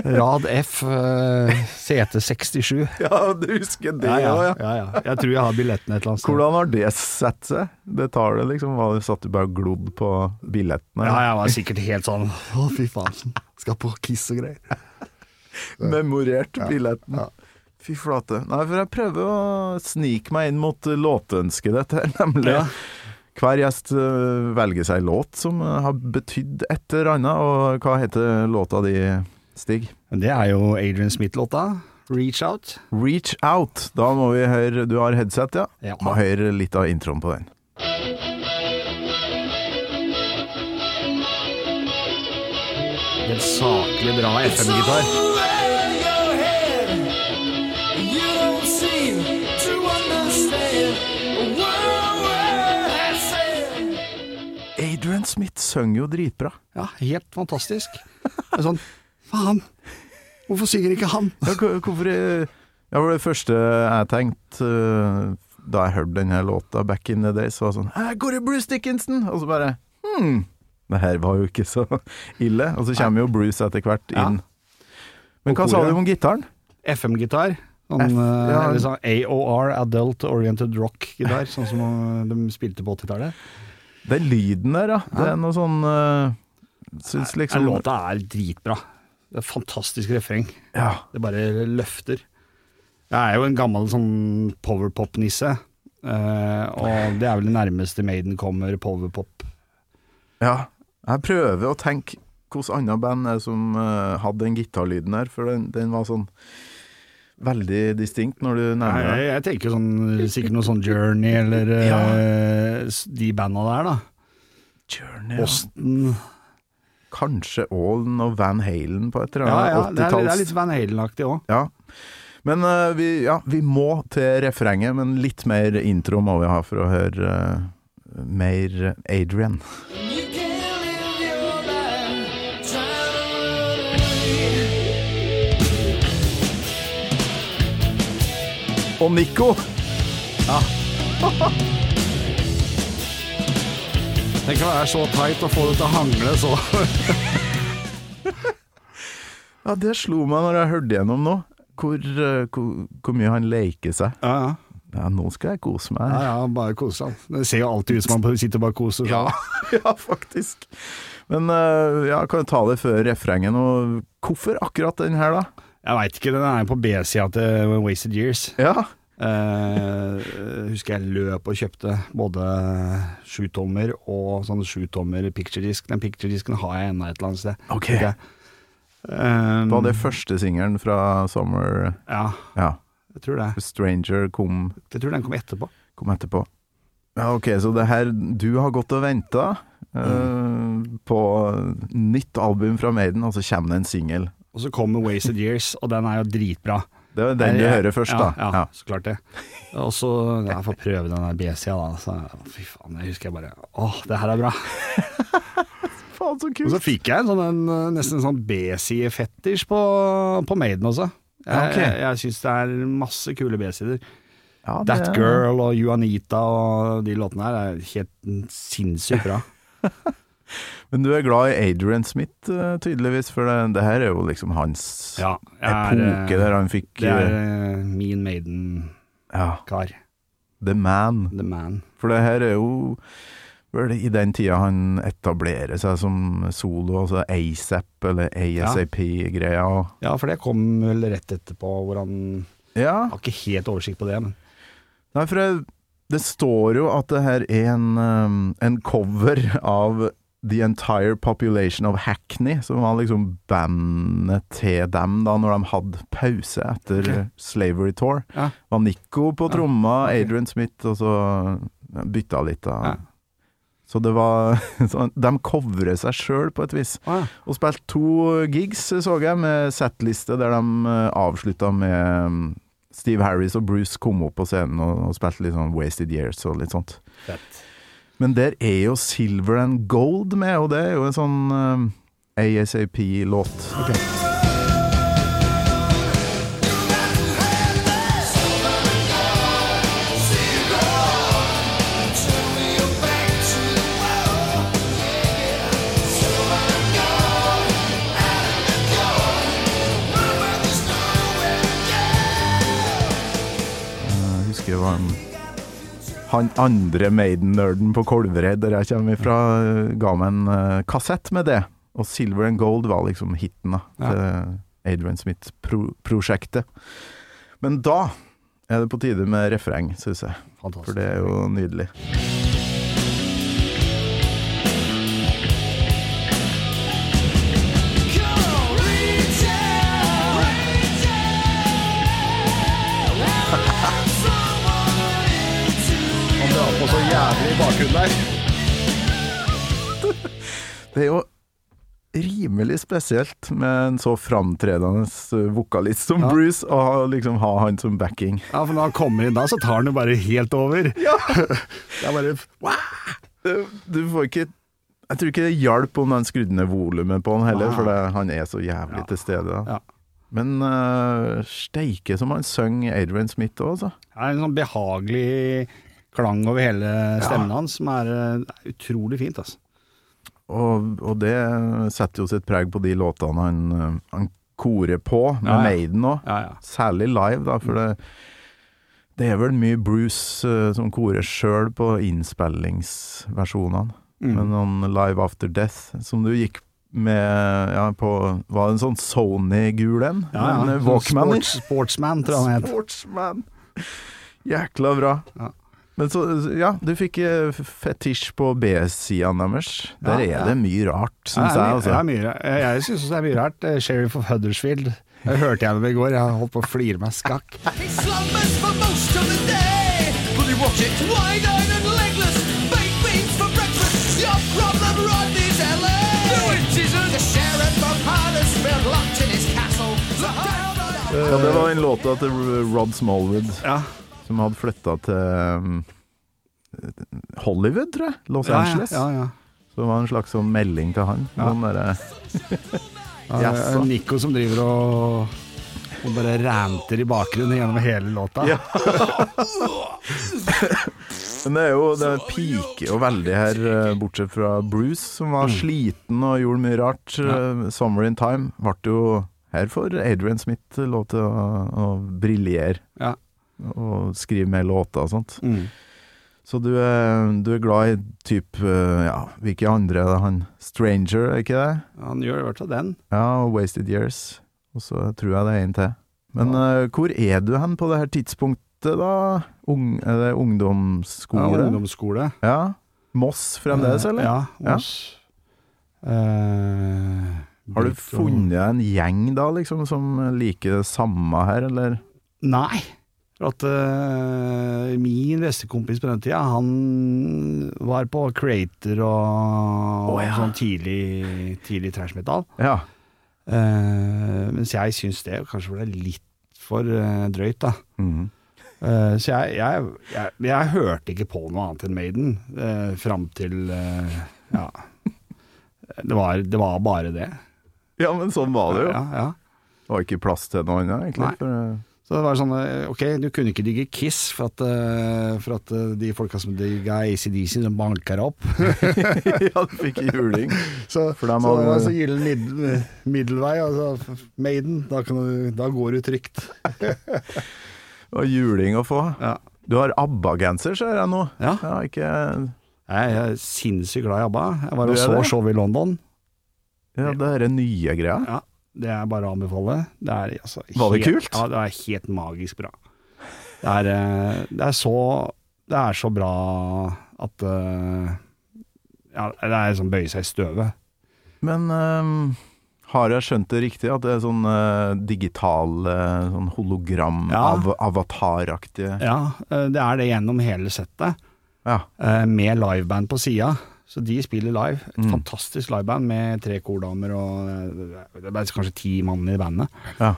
Rad F, eh, sete 67.
Ja, du husker det
Ja,
òg,
ja,
ja.
ja, ja. Jeg tror jeg har billettene et eller annet sted.
Hvordan har det satt seg? Det tar det liksom var det Satt du bare og glodd på billettene?
Ja, jeg var sikkert helt sånn Å, fy faen. Skal på Kiss og greier.
Memorert billetten? Fy flate. Nei, for jeg prøver å snike meg inn mot låtønsket ditt her, (laughs) nemlig.
Ja.
Hver gjest øh, velger seg låt som øh, har betydd et eller annet, og hva heter låta di, Stig?
Men det er jo Adrian Smith-låta. Reach Out.
Reach Out. Da må vi høre Du har headset, ja?
Ja.
Må høre litt av introen på den.
Helt saklig bra FM-gitar.
Adrian Smith synger jo dritbra.
Ja, helt fantastisk. (laughs) Det er sånn Faen, hvorfor synger ikke han?
Ja, hvor- hvorfor eh, ja, for Det første jeg tenkte eh, da jeg hørte denne låta back in the days, var sånn Her går det Bruce Dickinson! Og så bare Hm, det her var jo ikke så (laughs) ille. Og så kommer jo Bruce etter hvert
Ja.
inn. Men
Og
hva sa
koret.
du om gitaren?
FM-gitar. Sånn,
F-
eh,
ja.
eller sånn AOR, Adult Oriented Rock-gitar, sånn som eh, de spilte på 80-tallet.
Den lyden der, ja. Det er noe sånn eh, Syns
Den
liksom
låta er dritbra. Det er fantastisk refreng.
Ja.
Det bare løfter. Jeg er jo en gammel sånn powerpop-nisse, eh, og det er vel det nærmeste Maiden kommer powerpop.
Ja, jeg prøver å tenke hvilket annet band er det som eh, hadde den gitarlyden her, for den, den var sånn veldig distinkt når du nærmer
Jeg,
deg.
jeg tenker sånn, sikkert noe sånn Journey eller eh, s- de banda der, da.
Journey, ja.
Boston
Kanskje Aalen og Van Halen på et eller
Ja, ja,
annet
det er, det er
80-talls.
litt Van Halen-aktig òg.
Ja. Men eh, vi, ja, vi må til refrenget, men litt mer intro må vi ha for å høre eh, mer Adrian. Og Nico!
Tenk å være så tight og få det til å hangle så
Ja, det slo meg når jeg hørte gjennom nå. Hvor, eh, hvor, hvor mye han leker seg.
Ja, ja.
Ja, nå skal jeg kose meg.
Ja,
her.
ja, bare kose han. Det ser jo alltid ut som han sitter og bare koser seg.
(laughs) ja, faktisk. Men eh, ja, kan jeg ta det før refrenget nå? Hvorfor akkurat den her, da?
Jeg veit ikke, den er på B-sida til Wasted Years.
Ja,
Eh, husker jeg løp og kjøpte både sjutommer og sånn sjutommer picturedisk. Den picturedisken har jeg ennå et eller annet sted.
Ok.
tenker jeg. Eh,
Var det første singelen fra Summer
Ja,
Ja.
jeg tror det.
Stranger kom,
Jeg tror den kom etterpå.
kom etterpå. Ja, ok, så det her Du har gått og venta
Mm.
på nytt album fra Maiden, og så kommer det en singel.
Og så kommer Wasted Years, og den er jo dritbra.
Det er den du
Jeg-
hører først,
ja,
da.
Ja, så klart det. Og så ja, Jeg får prøve den der BC-a, da. Så, fy faen, jeg husker jeg bare Åh, det her er bra.
Faen, så
Og
kult!
så fikk jeg en sånn, en, eh, nesten en sånn B-side-fetisj på, på Maiden også. Jeg,
Ja, ok.
jeg, jeg syns det er masse kule B-sider.
Ja, det-
That Girl og Juanita og de låtene her er helt sinnssykt bra.
Men du er glad i Adrian Smith, eh, tydeligvis, for det, det her er jo liksom hans
(laughs) Ja, jeg er, eh,
epoke der han fikk
Det er
eh,
eh, min Maiden-kar.
ja, The Man.
The Man.
For det her er jo vel i den tida han etablerer seg som solo, altså ASAP eller ASAP-greia. og-
Ja, for det kom vel rett etterpå, hvor han
Ja.
Har ikke helt oversikt på det, men
Nei, for det, det står jo at det her er en, um, en cover av The Entire Population of Hackney, som var liksom bandet til dem da når de hadde pause etter Slavery Tour.
Ja.
var Nico på
Ja,
tromma,
ok.
Adrian Smith, og så ja, bytta litt da.
Ja.
Så det var (laughs) så De covrer seg sjøl på et vis. Og spilte to gigs, så jeg, med setliste der de eh, avslutta med mm, Steve Harris og Bruce kom opp på scenen og, og spilte litt sånn Wasted Years og litt sånt.
Fett.
Men der er jo Silver and Gold med, og det er jo en sånn eh, ASAP-låt. Jeg husker det var en han andre Maiden-nerden på Kolvereid, der jeg kommer ifra, eh, ga meg en eh, kassett med det. Og Silver and Gold var liksom hiten da,
Ja.
til Adrian Smith-prosjektet. Men da er det på tide med refreng, syns jeg. For
Fantastisk.
det er jo nydelig. Det er jo rimelig spesielt med en så framtredende eh, vokalist som
Ja.
Bruce, å ha- liksom ha han som backing.
Ja, for når han kommer inn da, så tar han jo bare helt over. Det er bare
Det- Du får ikke Jeg tror ikke det hjalp om han skrudde ned volumet på han heller, for det, han er så jævlig til stede. da.
Ja.
Men eh, steike som han sang Adrian Smith òg, altså.
Det er en sånn behagelig klang over hele stemmen hans, som er eh, utrolig fint, altså.
Og, og det setter jo sitt preg på de låtene han, eh, han korer på, med
Ja, ja.
Maiden òg.
Ja, ja.
Særlig live, da, for det, det er vel mye Bruce eh, som korer sjøl på innspillingsversjonene.
Mm.
Men noen Live After Death, som du gikk med ja, på Var det en sånn Sony-gul en?
ja, ja.
En, eh,
Sånn
Walkman? i?
Sports, sportsman, tror jeg han het.
Sportsman. Jækla bra.
Ja.
Men så, ja, du fikk eh, fetisj på B-sida deres.
Ja,
Der
ja.
er det mye rart, syns
Ja,
jeg.
det er mye- det
Altså.
er mye rart. Eh, Jeg syns også det er mye rart. Eh, Sheriff of Huddersfield. Det hørte jeg om i går, jeg har holdt på å flire meg skakk.
(laughs)
He slumbers for most of the day, but he watches wide-eyed and legless. Baked beans for breakfast. Your problem, Rodney's LA. No, it isn't. The sheriff of Huddersfield locked in his castle. The hard-
Ja, det var den låta til Rod Smallwood
Ja.
som hadde flytta til um, Hollywood, tror jeg. Los
Ja, ja,
Angeles.
ja, ja.
Så det var en slags sånn melding til han.
Ja.
Sånn derre
Ja, det
Jaså.
er Nico som driver og, og bare ranter i bakgrunnen gjennom hele låta.
Ja. Men det er jo Det piker jo veldig her, eh, bortsett fra Bruce, som
Mm.
var sliten og gjorde mye rart. Eh, 'Summer in Time' ble jo Her får Adrian Smith lov til å, å briljere
Ja.
og skrive mer låter og sånt.
Mm.
Så du er, du er glad i type Ja, hvilke andre er det han Stranger, er ikke det?
Han gjør i hvert fall den.
Ja, og Wasted Years. Og så tror jeg det er en til. Men eh, hvor er du hen på det her tidspunktet Slottet, da? Ung, er det
Ja,
ungdomsskole? Ja,
ungdomsskole.
Moss fremdeles, eller?
Ja. Moss. Eh,
Har du
Bygd-
funnet en gjeng da, liksom, som liker det samme her, eller?
Nei. For at eh, min beste kompis på den tida, han var på Creator og,
Å, ja.
og sånn tidlig, tidlig trash metal.
Ja.
Eh, mens jeg syns det kanskje ble litt for eh, drøyt, da.
Mhm.
Eh, så jeg, jeg, jeg, jeg hørte ikke på noe annet enn Maiden uh, fram til eh, Ja. Det var, det var bare det.
Ja, men sånn var det jo.
Ja, ja.
Det var ikke plass til noe annet,
Nei.
egentlig. (laughs)
Så
For,
det var sånn eh, Ok, du kunne ikke digge Kiss for at, eh, for at eh, de folka som digga ACDC, de banka det opp. (laughs)
ja, du fikk (laughs) juling.
Så,
For dem
så det var
hadde-
så gyllen mid- middelvei. Altså, Maiden, da, kan du, da går du trygt.
Og juling å få.
Ja.
Du har ABBA-genser, ser jeg nå.
Ja.
ikke
Jeg er sinnssykt glad i ABBA. Jeg var
Du
og
er
så
det?
show i London.
Ja, det er nye greia.
Ja, det er bare å anbefale. Det er, altså,
Var det
helt,
kult?
Ja, det er helt magisk bra. Det er, eh, det er så Det er så bra at eh, ja, Det er sånn bøye seg i støvet.
Men ehm, har jeg skjønt det riktig, at det er sånn eh, digital eh, sånn
Ja.
hologram-avatar-aktige ja.
Ja, eh, det er det gjennom hele settet, eh, med liveband på sida. Så de spiller live. Et
Mm.
fantastisk liveband med tre kordamer og eh, det er kanskje ti mann i bandet.
Ja.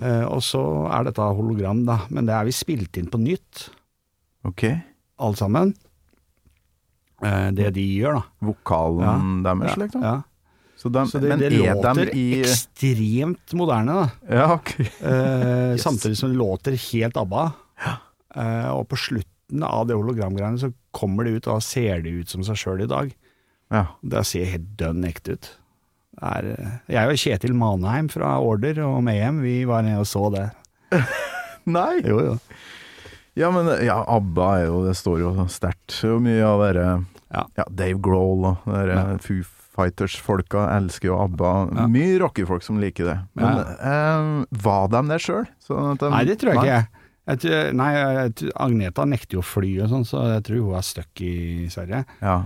Eh, Og så er dette hologram, da. Men det er vi spilt inn på nytt.
Ok.
alle sammen. Eh, det de gjør, da.
Vokalen deres, liksom.
Ja.
Så, de,
Så det,
men
det
er
låter
de i
ekstremt moderne, da.
Ja,
(laughs)
ok.
Eh, Samtidig som det låter helt ABBA. Eh, og på slutten av det hologramgreiene så kommer det ut, og da ser det ut som seg sjøl i dag.
Ja.
Det ser helt dønn ekte ut. Det Er, eh, jeg og Kjetil Manheim fra Order og Mayhem, vi var nede og så det.
Nei!
Jo, jo.
Ja, men ja, ABBA er jo Det står jo sånn sterkt. Så mye av dere
Ja.
ja, Dave Grohl og dere Foo Fighters-folka elsker jo ABBA. Mye rockefolk som liker det. Men eh, var Sånn de det sjøl?
Nei, det tror jeg ikke. Jeg tror, nei, jeg tror, Agneta nekter jo å fly og sånn, så jeg tror hun er stuck i Sverige.
Ja.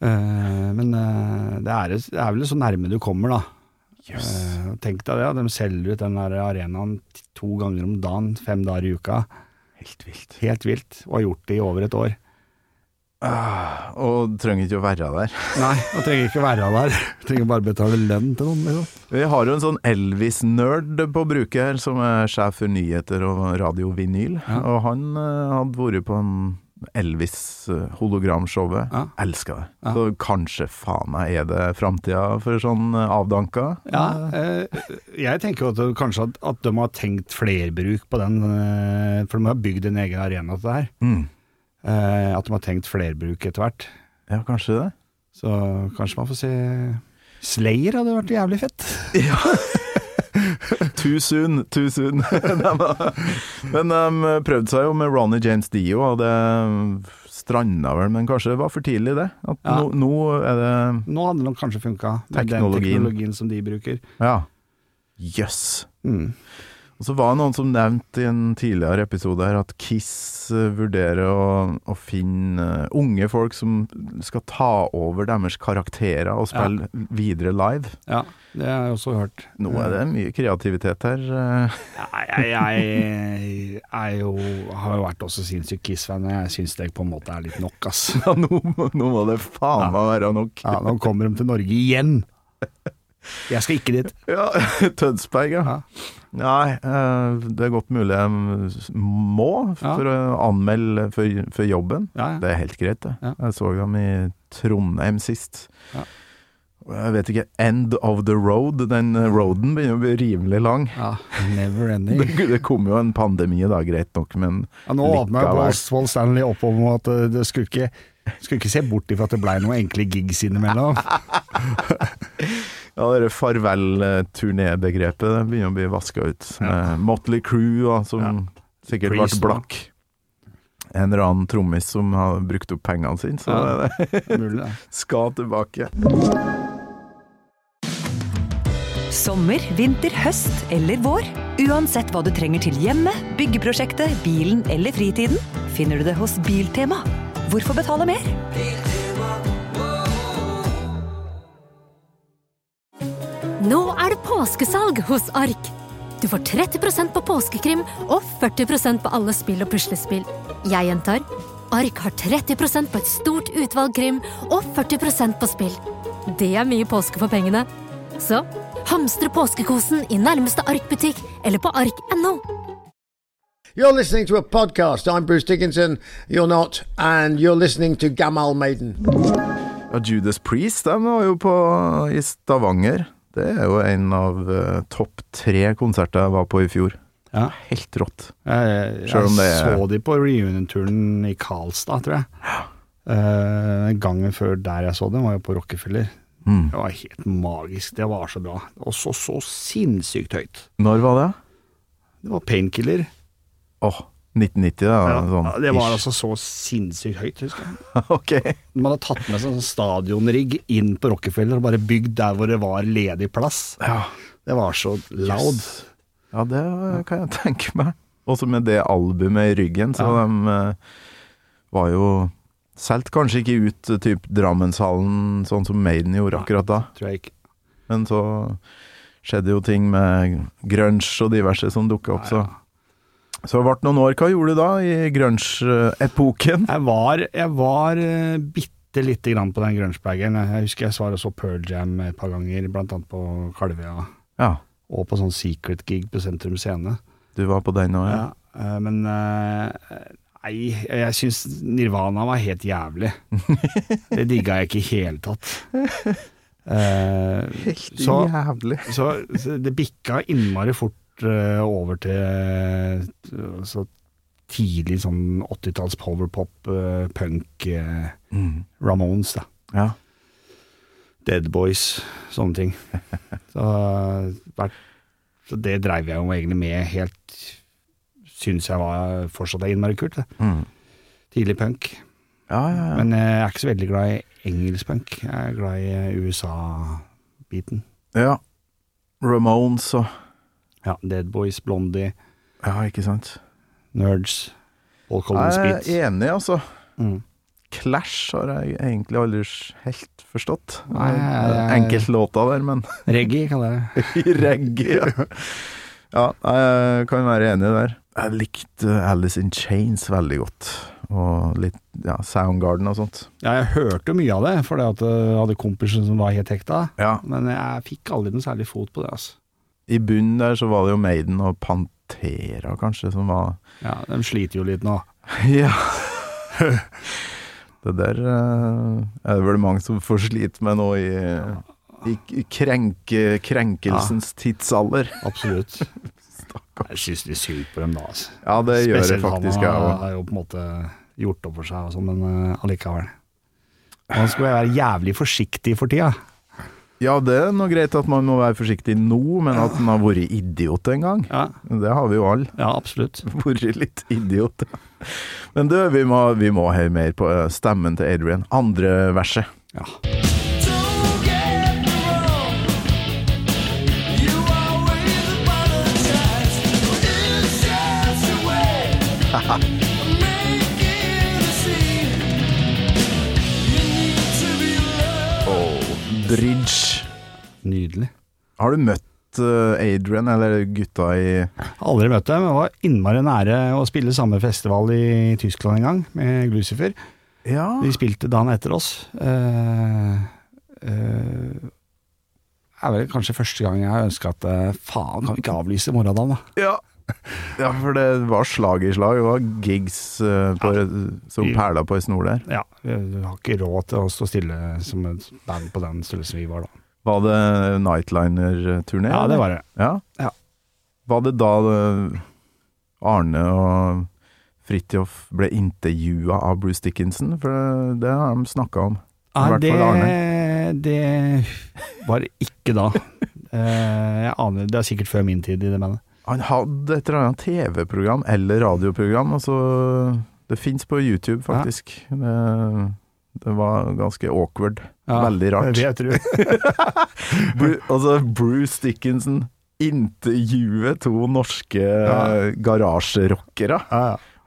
Eh, men eh, det, er, det er vel så nærme du kommer, da. Eh, tenk deg det, de selger ut den der arenaen t- to ganger om dagen, fem dager i uka.
Helt vilt.
Helt vilt, og har gjort det i over et år.
Og trenger ikke å være der.
Nei, og trenger ikke være der. Trenger bare betale lønn til noen. Liksom.
Vi har jo en sånn Elvis-nerd på bruket her, som er sjef for nyheter og radio Vinyl. Og han eh, hadde vært på en Elvis-hologramshowet.
Ja.
Elska det. Så kanskje faen meg er det framtida for sånn eh, avdanka.
Ja, eh, jeg tenker jo at det- kanskje at, at de har tenkt flerbruk på den, eh, for de har bygd en egen arena til det her.
Mm.
Eh, at de har tenkt flerbruk etter hvert.
Ja, kanskje det.
Så kanskje man får se Slayer hadde vært jævlig fett.
Too soon, too soon. (laughs) Nei, men men de prøvde seg jo med Ronny James Dio, og det stranda vel, men kanskje det var for tidlig, det. At
Ja.
nå, nå er det
Nå hadde det nok kanskje funka, med den
Teknologien.
teknologien som de bruker. Mm.
Ja. Jøss. Og så var det noen som nevnte i en tidligere episode her at Kiss eh, vurderer å, å finne eh, unge folk som skal ta over deres karakterer og spille videre live.
Ja, det har jeg også hørt.
Nå er
Mm.
det mye kreativitet her. eh. (laughs)
Jeg, jeg, jeg er jo, har jo vært også sinnssykt Kiss-fan, og jeg syns det på en måte er litt nok, ass.
Ja, nå, må- nå må det faen meg være nok.
Ja, nå kommer de til Norge igjen! Jeg skal ikke dit.
Ja, (laughs) Tønsberg, ja. Nei, eh, det er godt mulig jeg må
Ja.
for å anmelde for, for jobben.
Ja, ja.
Det er helt greit, det.
Ja.
Jeg så dem i Trondheim sist.
Ja.
Og Jeg vet ikke, End of the road. Den roaden begynner å bli rimelig lang.
Ja, never ending.
(laughs) Det, det kom jo en pandemi da, greit nok, men
Ja, nå åpna jo
likevel.
Wall Stanley opp om at eh, det skulle ikke, skulle ikke se bort ifra at det blei noen enkle gigs innimellom.
Ja, det farvel-turné-begrepet det begynner å bli vaska ut. Med Motley Crew, da, som sikkert
Priest,
ble blakk. En eller annen trommis som har brukt opp pengene sine, så
Ja.
det
Mulig, det.
skal tilbake.
Så Sommer, vinter, høst eller vår. Uansett hva du trenger til hjemmet, byggeprosjektet, bilen eller fritiden, finner du det hos Biltema. Hvorfor betale mer?
Nå er det påskesalg hos Ark. Du får 30 på påskekrim og 40 på alle spill og puslespill. Jeg gjentar Ark har 30 på et stort utvalg krim og 40 på spill. Det er mye påske for pengene. Så hamstre påskekosen i nærmeste Ark-butikk eller på ark.no.
You're listening to a podcast. I'm Bruce Dickinson. You're not. And you're listening to Gamal Maiden.
Ja, Judas Priest de var jo på, i Stavanger. Det er jo en av eh, topp tre konserter jeg var på i fjor.
Ja.
Helt rått.
Jeg, Eh,
Selv
jeg
om det er-
så de på reunion-turen i Karlstad, tror jeg. Eh, gangen før der jeg så dem, var jeg på Rockefeller.
Mm.
Det var helt magisk. Det var så bra. Og så så sinnssykt høyt.
Når var det?
Det var painkiller.
Åh, 1990, da.
Ja,
sånn,
det var
ish.
altså så sinnssykt høyt, husker jeg.
(laughs) Ok.
De hadde tatt med seg en sånn stadionrigg inn på Rockefeller og bare bygd der hvor det var ledig plass. Det var så loud.
Ja, det kan jeg tenke meg. Også med det albumet i ryggen, så de eh, var jo Solgte kanskje ikke ut eh, typ Drammenshallen sånn som Maiden gjorde akkurat da,
Tror jeg ikke.
men så skjedde jo ting med grunge og diverse som dukka opp, så Så det ble noen år. Hva gjorde du da i grunge-epoken?
Jeg var, jeg var eh, bitte lite grann på den grunge-bagen. Jeg husker jeg svarer så Pearl Jam et par ganger, blant annet på Kalvøya.
Ja,
Og på sånn secret gig på Sentrum Scene.
du var på den òg, ja.
Ja, eh, men eh, nei, jeg syns Nirvana var helt
(laughs)
jævlig. Det digga jeg ikke i hele tatt. Eh, så,
jævlig.
så, så det bikka innmari fort eh, over til eh, så tidlig sånn 80-talls powerpop, eh, punk, eh, Ramones, da.
Ja.
Dead Boys, sånne ting. (laughs) Så, vært- så det dreiv jeg jo egentlig med helt Syns jeg var fortsatt er innmari kult. Det.
Mm.
Tidlig punk.
ja, ja, ja.
Men eh, jeg er ikke så veldig glad i engelsk punk. Jeg er glad i eh, USA-biten.
ja. Ramones og
Ja, Dead Boys, Blondie,
Ja, ikke sant.
Nerds, Paul Collins
Jeg
Beat.
er enig, altså.
Mm.
Clash har jeg egentlig aldri helt forstått.
Nei, jeg-
Enkeltlåta der, men
Reggae, kaller jeg det.
i reggae ja. ja, jeg kan være enig der. Jeg likte Alice in Chains veldig godt. Og litt ja, Soundgarden og sånt.
Ja, jeg hørte jo mye av det, fordi at eh, jeg hadde kompiser som var helt hekta.
Ja,
Men jeg fikk aldri noe særlig fot på det, altså.
I bunnen der så var det jo Maiden og Pantera, kanskje, som var
Ja, De sliter jo litt nå.
(laughs) Ja. (laughs) Det der eh, er det vel mange som får slite med nå i, i i krenke, krenkelsens tidsalder.
(laughs) Absolutt. Jeg syns litt synd på dem da, altså.
Ja, det gjør det
Spesielt
faktisk jeg
han har,
òg.
har jo på en måte gjort opp for seg og sånn, men eh, allikevel. Man skal være jævlig forsiktig for tida.
Ja, det er nå greit at man må være forsiktig nå, men at man har vært idiot en gang,
Ja,
det har vi jo alle. (laughs)
ja absolutt.
Vært litt idiot. Men du, vi må, vi må høre mer på eh, stemmen til Adrian. Andre verset.
Ja.
Bridge.
Nydelig.
Har du møtt eh, Adrian, eller gutta i
Aldri møtt dem, men var innmari nære å spille samme festival i Tyskland en gang, med Glucifer.
Ja.
De spilte dagen etter oss. Eh, eh, er vel kanskje første gang jeg har ønska at eh, faen, kan vi ikke avlyse morgendagen, da?
Ja. ja, for det var slag i slag. Det var gigs eh, på, som
Vi-
perla på ei snor der.
Ja, vi vi har ikke råd til å stå stille som et band på den størrelsen vi var da.
Var det Nightliner-turné?
Ja, det var det.
Ja?
Ja.
Var det da eh, Arne og Fridtjof ble intervjua av Bruce Dickinson? For det, det har de snakka om. I hvert fall
det, Eh, det var ikke
(laughs)
da. Eh, Jeg aner, Det er sikkert før min tid i det bandet.
Han hadde et eller annet TV-program eller radioprogram. Altså, det fins på YouTube, faktisk. Det, Det var ganske awkward.
Ja,
Veldig
(laughs)
rart.
det vet
Bru, altså, Bruce Dickinson intervjuet to norske
Ja.
eh, garasjerockere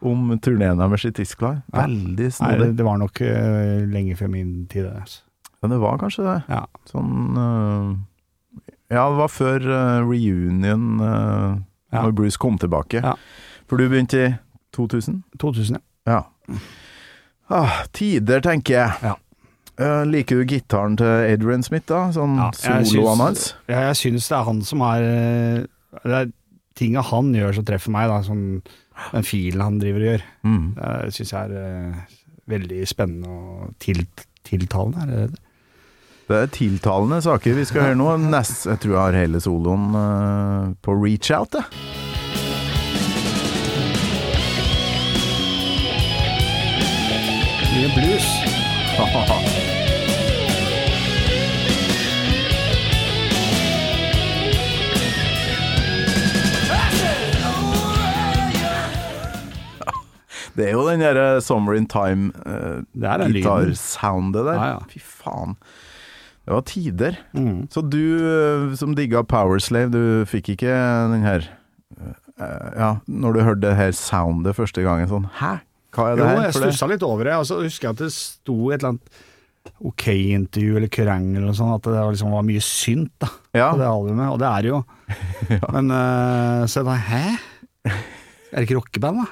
om turneen deres i Tyskland. Veldig
Nei,
snodig.
det- det var nok eh, lenge før min tid. det, Altså.
Ja, det var kanskje det. Sånn eh, Ja, det var før eh, reunion, uh, når Bruce kom tilbake. For du begynte i 2000?
2000,
ja. Ah, tider, tenker jeg. Eh, liker du gitaren til Adrian Smith, da? Sånn
jeg
soloen
syns-
hans?
Ja, jeg syns det er han som er eh, Det er tinga han gjør som treffer meg, da. Sånn, den filen han driver og gjør.
Mm.
Det syns jeg er eh, veldig spennende og til, tiltalende. Er det det?
Det er tiltalende saker vi skal høre nå. Nest, jeg tror jeg har hele soloen eh, på reach out, jeg.
Mye blues.
Det er jo den derre Summer in Time-gitarsoundet
den lyden.
der. Fy faen. Det var tider.
Mm.
Så du eh, som digga Powerslave, du fikk ikke den her eh, Ja, når du hørte det her soundet første gangen, sånn Hæ? Hva er det
Jo,
her?
jeg
For det-
stussa litt over det. Og så husker jeg at det sto i et eller annet OK-intervju eller krangel eller sånn, at det var liksom var mye synt da, på det albumet. Og det er det
(laughs)
jo. Men eh, så jeg bare Hæ? Er det ikke rockeband,
(laughs)
da?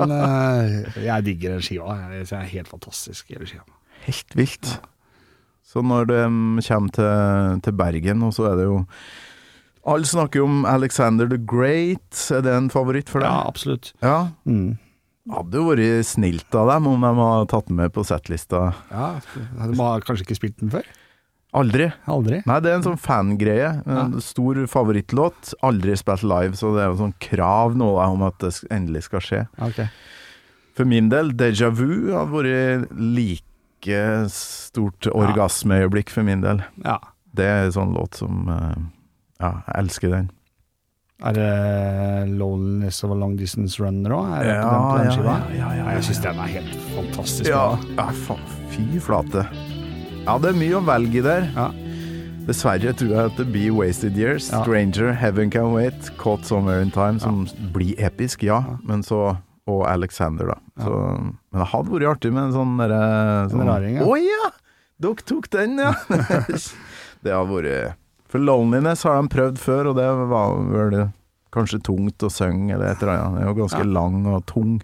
Men eh, jeg digger den skiva. Jeg synes den er helt fantastisk. hele skiva.
Helt vilt. Så når de kommer til, til Bergen, og så er det jo Alle snakker jo om Alexander the Great. Er det en favoritt for deg?
Ja, absolutt.
Ja.
Mm.
Hadde jo vært snilt av dem om de hadde tatt den med på settlista.
Ja, De har kanskje ikke spilt den før?
Aldri.
Aldri.
Nei, det er en sånn fangreie. En stor favorittlåt. Aldri spilt live, så det er jo sånn krav nå da, om at det endelig skal skje.
Ok.
For min del, déjà vu har vært like stort orgasmeøyeblikk for min del.
Ja.
Det er en sånn låt som eh, Ja, jeg elsker den.
Er det 'Loneliness of a Long Distance Runner' òg? Er det på
Ja,
den, på den
ja,
skiva?
ja, ja, ja,
Jeg syns den er helt fantastisk.
Ja,
bra.
ja faen, fy flate. Ja, det er mye å velge i der. Dessverre tror jeg at det blir Wasted Years, Stranger, Heaven Can Wait, Caught Somewhere in Time, som blir episk, ja. Men så Og Alexander, da. Så, Men det hadde vært artig med en sånn derre sånn,
raring, ja.
Å ja! Dere tok den,
(laughs)
ja! det har vært For Loneliness har de prøvd før, og det var vel kanskje tungt å synge eller et eller annet. Den er jo ganske lang og tung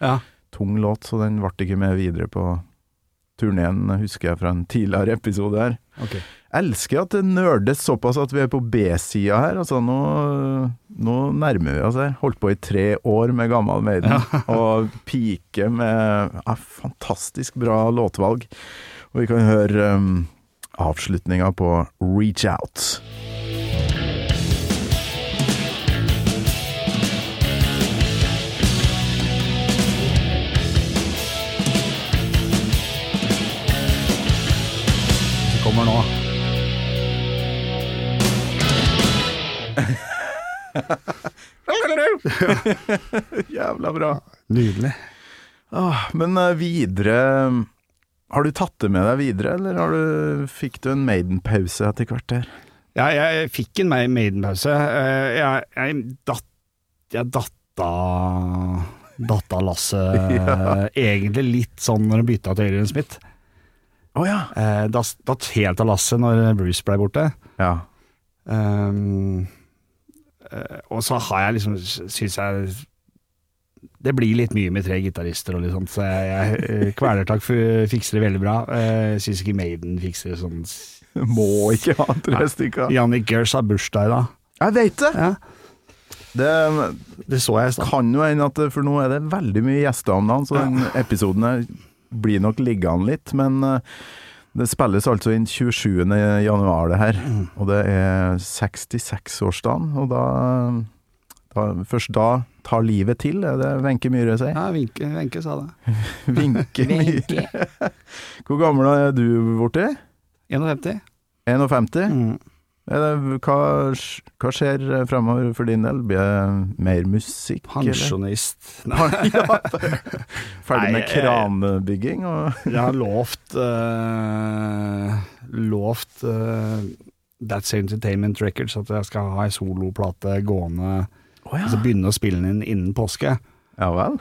Ja.
tung låt, så den ble ikke med videre på turneen, husker jeg fra en tidligere episode her.
Ok.
Elsker at det nerdes såpass at vi er på B-sida her. Altså, nå, nå nærmer vi oss her. Holdt på i tre år med Gammal Maiden, (laughs) og pike med ja, fantastisk bra låtvalg. Og vi kan høre um, avslutninga på Reach Out.
Det kommer nå.
Jævla bra.
Nydelig.
Ah, men eh, videre um, Har du tatt det med deg videre, eller har du, fikk du en Maiden-pause etter hvert her?
Ja, jeg fikk en Ma- Maiden-pause. Eh, Jeg, jeg, datt, jeg datta Datta (laughs) lasset
Ja.
egentlig litt sånn når hun bytta til Adrian Smith.
Å ja.
Eh, datt, datt helt av lasset når Bruce ble borte.
ja.
Ehm, eh, og så har jeg liksom, syns jeg Det blir litt mye med tre gitarister og litt sånt, så jeg, eh, jeg Kvelertak f- fikser det veldig bra. Eh, Jeg syns ikke Maiden fikser det sånn
Må ikke ha tre stykker.
Jannik Gers har bursdag i dag.
Jeg veit det!
Ja.
Det
Det så jeg i stad.
kan jo hende at For nå er det veldig mye gjester om dagen, så den episoden her blir nok liggende litt. Men eh, det spilles altså inn 27. januar, det her. Og det er 66-årsdagen. Og da, da Først da tar livet til, er det Wenche Myhre sier.
Ja, Wenche Wenche sa det.
Vinke Myhre. (laughs) Hvor gammel er du borti?
51.
51? Er det- Hva, hva skjer eh, fremover for din del? Blir det mer musikk? eller? (laughs)
Pensjonist.
ja,
Nei,
ferdig med
eh, jeg-
kranbygging? Og
Jeg har lovt eh, Lovt eh, That's Entertainment Records at jeg skal ha ei soloplate gående Altså begynne å spille den inn innen påske. eh,
Ja vel?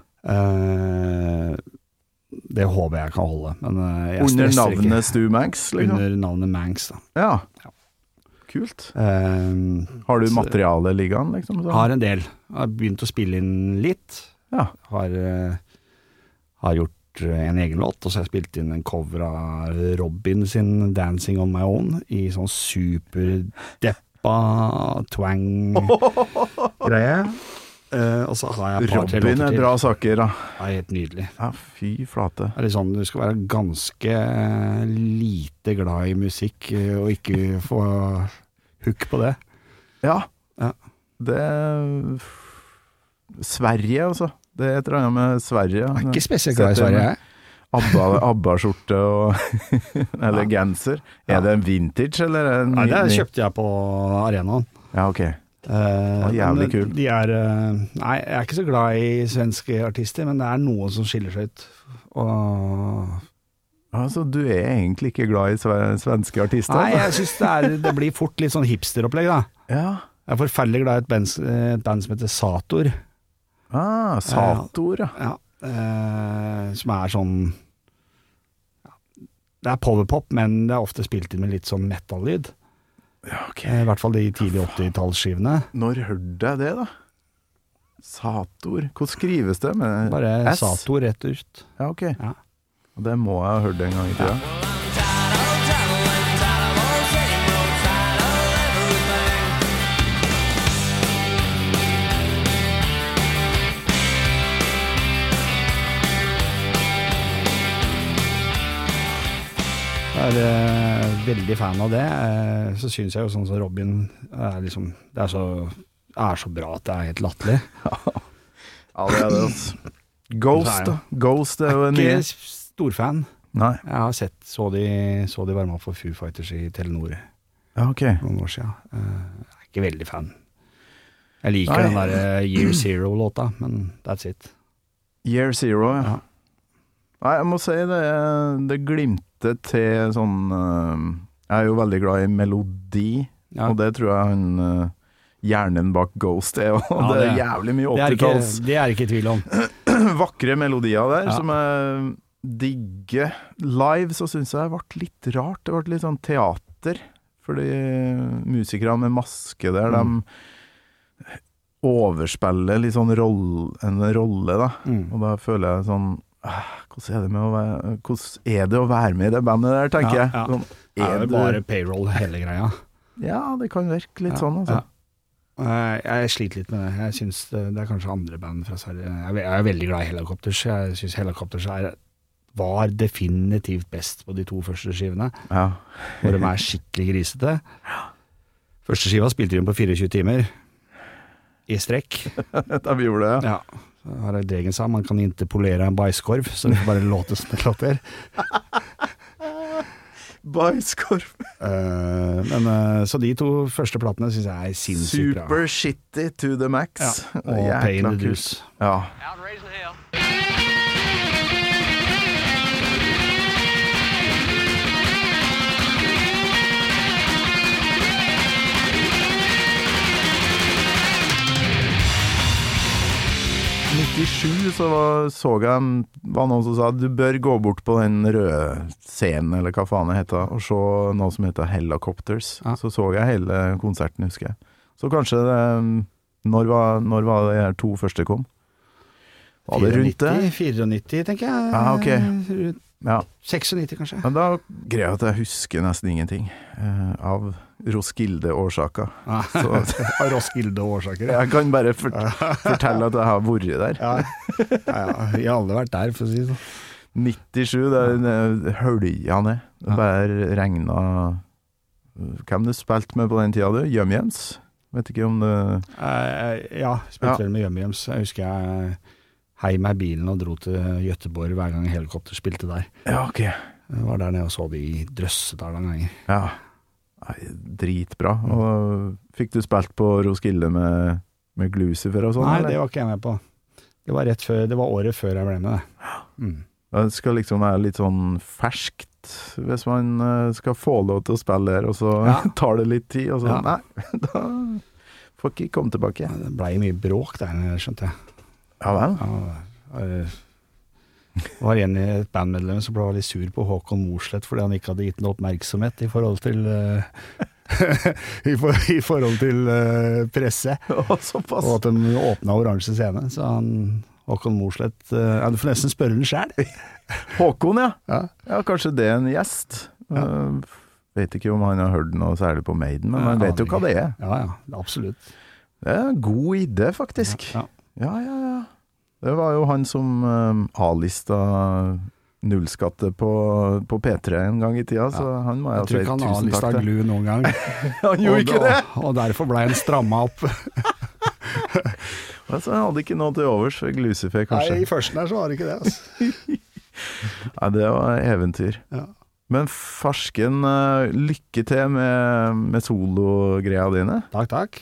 det håper jeg kan holde, men eh, jeg
Under
stresser ikke.
navnet Stu Manx? Liksom?
Under navnet Manx, da.
Ja. Kult.
Eh,
Har du
så-
materiale liggende? Liksom, så?
Har en del. Har begynt å spille inn litt.
Ja.
Har, eh, har gjort eh, en egen låt, og så har jeg spilt inn en cover av Robin sin 'Dancing On My Own' i sånn superdeppa twang-greie.
(laughs)
Eh, og så har jeg et par tre
Robin
låter
er
til.
bra saker, da.
Det er helt nydelig.
Ja, fy
Det
flate.
er litt sånn, du skal være ganske eh, lite glad i musikk eh, og ikke få hook på det.
Ja.
Ja.
Det Sverige, altså. Det er et eller annet med Sverige.
Jeg er ikke spesielt glad i Sverige, jeg.
Abba- ABBA-skjorte
(laughs)
og Eller genser. Er
Ja.
det en vintage, eller? er En
Nei, det
ny-
kjøpte jeg på arenaen.
Ja, ok.
Eh,
var jævlig
men
kul.
De er, eh, nei, jeg er ikke så glad i svenske artister, men det er noe som skiller seg ut. Og
Altså, du er egentlig ikke glad i sve- svenske artister?
Nei,
altså.
jeg syns det, er- det blir fort litt sånn hipsteropplegg, da.
Ja.
Jeg er forferdelig glad i et band, et band som heter Sator.
Ah, Sator, ja.
Ja, eh, som er sånn ja, Det er powerpop, men det er ofte spilt inn med litt sånn metallyd.
ja ok.
Eh, I hvert fall de tidlige 80-tallsskivene.
Når hørte jeg det, da? Sator. Hvordan skrives det? Med (laughs)
Bare
S?
Sato rett ut.
Ja, ok.
Ja.
Og Det må jeg ha hørt en gang i tida.
Jeg er eh, veldig fan av det. Eh, så syns jeg jo sånn som Robin er liksom Det er så, er så bra at det er helt latterlig.
(laughs) Ja, det er det, altså. Ghost, da. Ghost er jo en
Ikke
ny
storfan.
Nei.
Jeg har sett, så de, så de varme opp for Foo Fighters i Telenor
Ja, ok.
for noen år siden. Eh, jeg er ikke veldig fan. Jeg liker
Nei.
den der eh, Year Zero-låta, men that's it.
Year Zero, ja.
Ja.
Nei, jeg må si det, det glimter til sånn eh, Jeg er jo veldig glad i melodi,
Ja.
og det tror jeg han eh, hjernen bak Ghost er. Og
Ja,
det
det
er
er-
jævlig mye
Det er ikke,
80-talls
det er ikke i tvil om.
(clears throat) vakre melodier der
Ja.
som jeg digger. Live så syns jeg det ble litt rart. Det ble litt sånn teater. Fordi musikerne med maske der,
Mm.
de overspiller litt sånn roll, en rolle, da.
Mm.
Og da føler jeg sånn «Ah, hvordan er, det med å være, hvordan er det å være med i det bandet der, tenker
Ja,
jeg.
ja.
Sånn,
Det
er
er vel
du-
bare payroll, hele greia.
Ja, det kan virke litt
Ja,
sånn, altså.
ja. Eh, Jeg sliter litt med det. Jeg synes det, det er kanskje andre band fra Sverige Jeg er ve- jeg er veldig glad i Helicopters. Jeg syns Helicopters er, var definitivt best på de to første skivene,
Ja.
hvor de er skikkelig grisete. Første skiva spilte de på 24 timer i strekk.
Da vi gjorde det,
Ja.
ja.
Her er Dregen sa man kan ikke polere en bæsjkorv, så det får bare låter som det (laughs) låter.
Bajskorv.
Eh, men, eh, så de to første platene syns jeg er sinnssykt bra.
Super shitty to the max.
Ja.
Jækla
Og Pain in
kult.
the Deuce.
Ja. I 97 så var, så jeg var noen som sa du bør gå bort på den røde scenen, eller hva faen det heter, og se noe som heter Helicopters.
Ja.
Så så jeg hele konserten, husker jeg. Så kanskje det Når var, når var det de her to første kom? Var det rundt det?
94, tenker jeg.
Ja, ok.
Rundt
Ja.
96
(laughs)
kanskje.
Men da greier jeg at jeg husker nesten ingenting eh, av Roskilde-årsaker. Så (laughs)
Av Roskilde-årsaker.
jeg kan bare fort fortelle at jeg har vært der.
Ja. Ja, ja. Vi har alle vært der, for å si det sånn.
97, det er- det er hølja ned. Det
Ja.
bare regna Hvem du spilte med på den tida, du? Jøm-Jens? Vet ikke om det
Eh, ja,
Ja.
spilte vel med Hjemhjems. Jeg husker jeg hei meg i bilen og dro til Gøteborg hver gang helikopter spilte der.
Ja, ok.
Jeg var der nede og så de drøsset der noen ganger.
Ja. Nei, dritbra. Og fikk du spilt på Roskilde med, med Glucifer og sånn?
Nei, det var ikke jeg med på. Det var, rett før, det var året før jeg ble med, det. Mm.
Det skal liksom være litt sånn ferskt hvis man eh, skal få lov til å spille her, og så (laughs) tar det litt tid, og så
Ja.
Nei, (laughs) da får ikke komme tilbake.
Det blei mye bråk der, skjønte jeg.
Ja vel?
Ja, det var en i et bandmedlem som ble litt sur på Håkon Mosleth fordi han ikke hadde gitt noe oppmerksomhet i forhold til eh, (laughs) i, for, I forhold til eh, presse.
såpass.
Og at de åpna oransje scene. Så han, Håkon Mosleth eh, ja, Du får nesten spørre den sjæl.
Håkon, ja. ja. kanskje det er en gjest. Eh, vet ikke om han har hørt noe særlig på Maiden, men han vet jo hva det er.
Ja, ja, absolutt.
Det er en god idé, faktisk.
Ja,
Ja, ja, ja. Det var jo han som eh, A-lista nullskatte på, på P3 en gang i tida, så han må jeg
Jeg
si
tror ikke han har
tusen
altså, lista
takk til.
glu noen (laughs) gang.
(laughs) Han gjorde
Og
ikke
da-
det!
Og derfor blei han stramma opp.
Altså, han hadde ikke noe til overs for Glucifer, kanskje.
Nei, i førsten her så var det ikke det.
(laughs)
Altså.
Nei. det var eventyr.
Ja.
Men farsken, eh, lykke til med, med sologreia dine.
Takk, takk.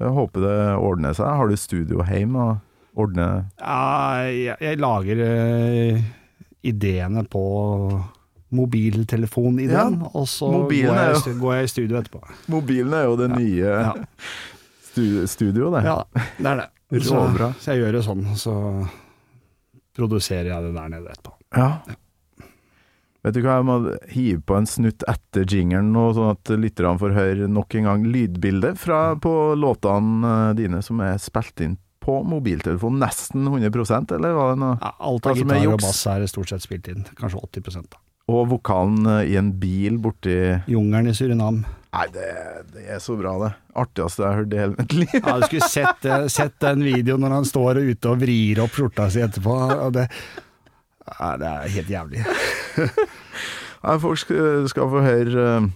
Jeg håper det ordner seg. Har du studio hjemme og ordner
Ja, jeg, jeg lager eh, ideene på mobiltelefonideen,
Ja,
og så går
mobilen er
jeg,
jo-
i stu- går jeg i studio
(laughs)
etterpå.
Mobilen er jo det nye
Ja.
stu- studio, det.
Ja, det er det. Så,
Råbra.
så jeg gjør det sånn, og så produserer jeg det der nede etterpå.
Ja. Vet du hva, jeg må hive på en snutt etter jingeren nå, sånn at lytterne får høre nok en gang lydbildet fra, på låtene eh, dine som er spilt inn på mobiltelefon. Nesten 100 eller var det noe?
Ja, alt av
Hva som er
gitar og
juks?
bass er stort sett spilt inn, kanskje 80 da.
Og vokalen eh, i en bil borti
Jungelen i Surinam.
Nei, det, det er så bra, det. Artigste jeg har hørt i hele mitt liv.
Ja, du skulle sett, det-
(laughs)
sett den videoen når han står ute og vrir opp skjorta si etterpå. Og det, ja, det er helt jævlig.
Nei, folk skal, skal få høre eh,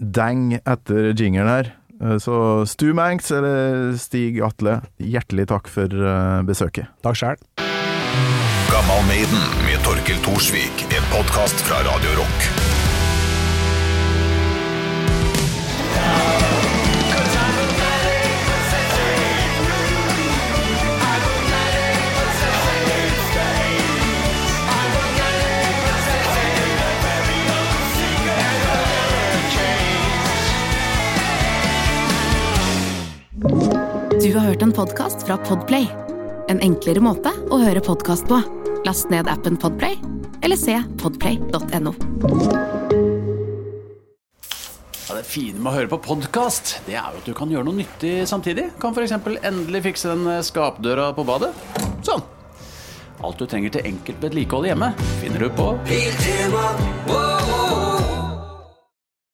dang etter jingeren her. Eh, Så Stu Manx eller Stig Atle, hjertelig takk for eh, besøket.
Takk sjæl.
Gammal Maiden med Torkel Thorsvik, en podkast fra Radio Rock.
Du har hørt en podcast fra Podplay. En enklere måte å høre podcast på. Last ned appen Podplay, eller se podplay.no.
Ja, det fine med å høre på podkast, det er jo at du kan gjøre noe nyttig samtidig. Kan f.eks. endelig fikse den eh, skapdøra på badet. Sånn. Alt du trenger til enkelt vedlikehold hjemme, finner du på
Helt tema, wow, wow,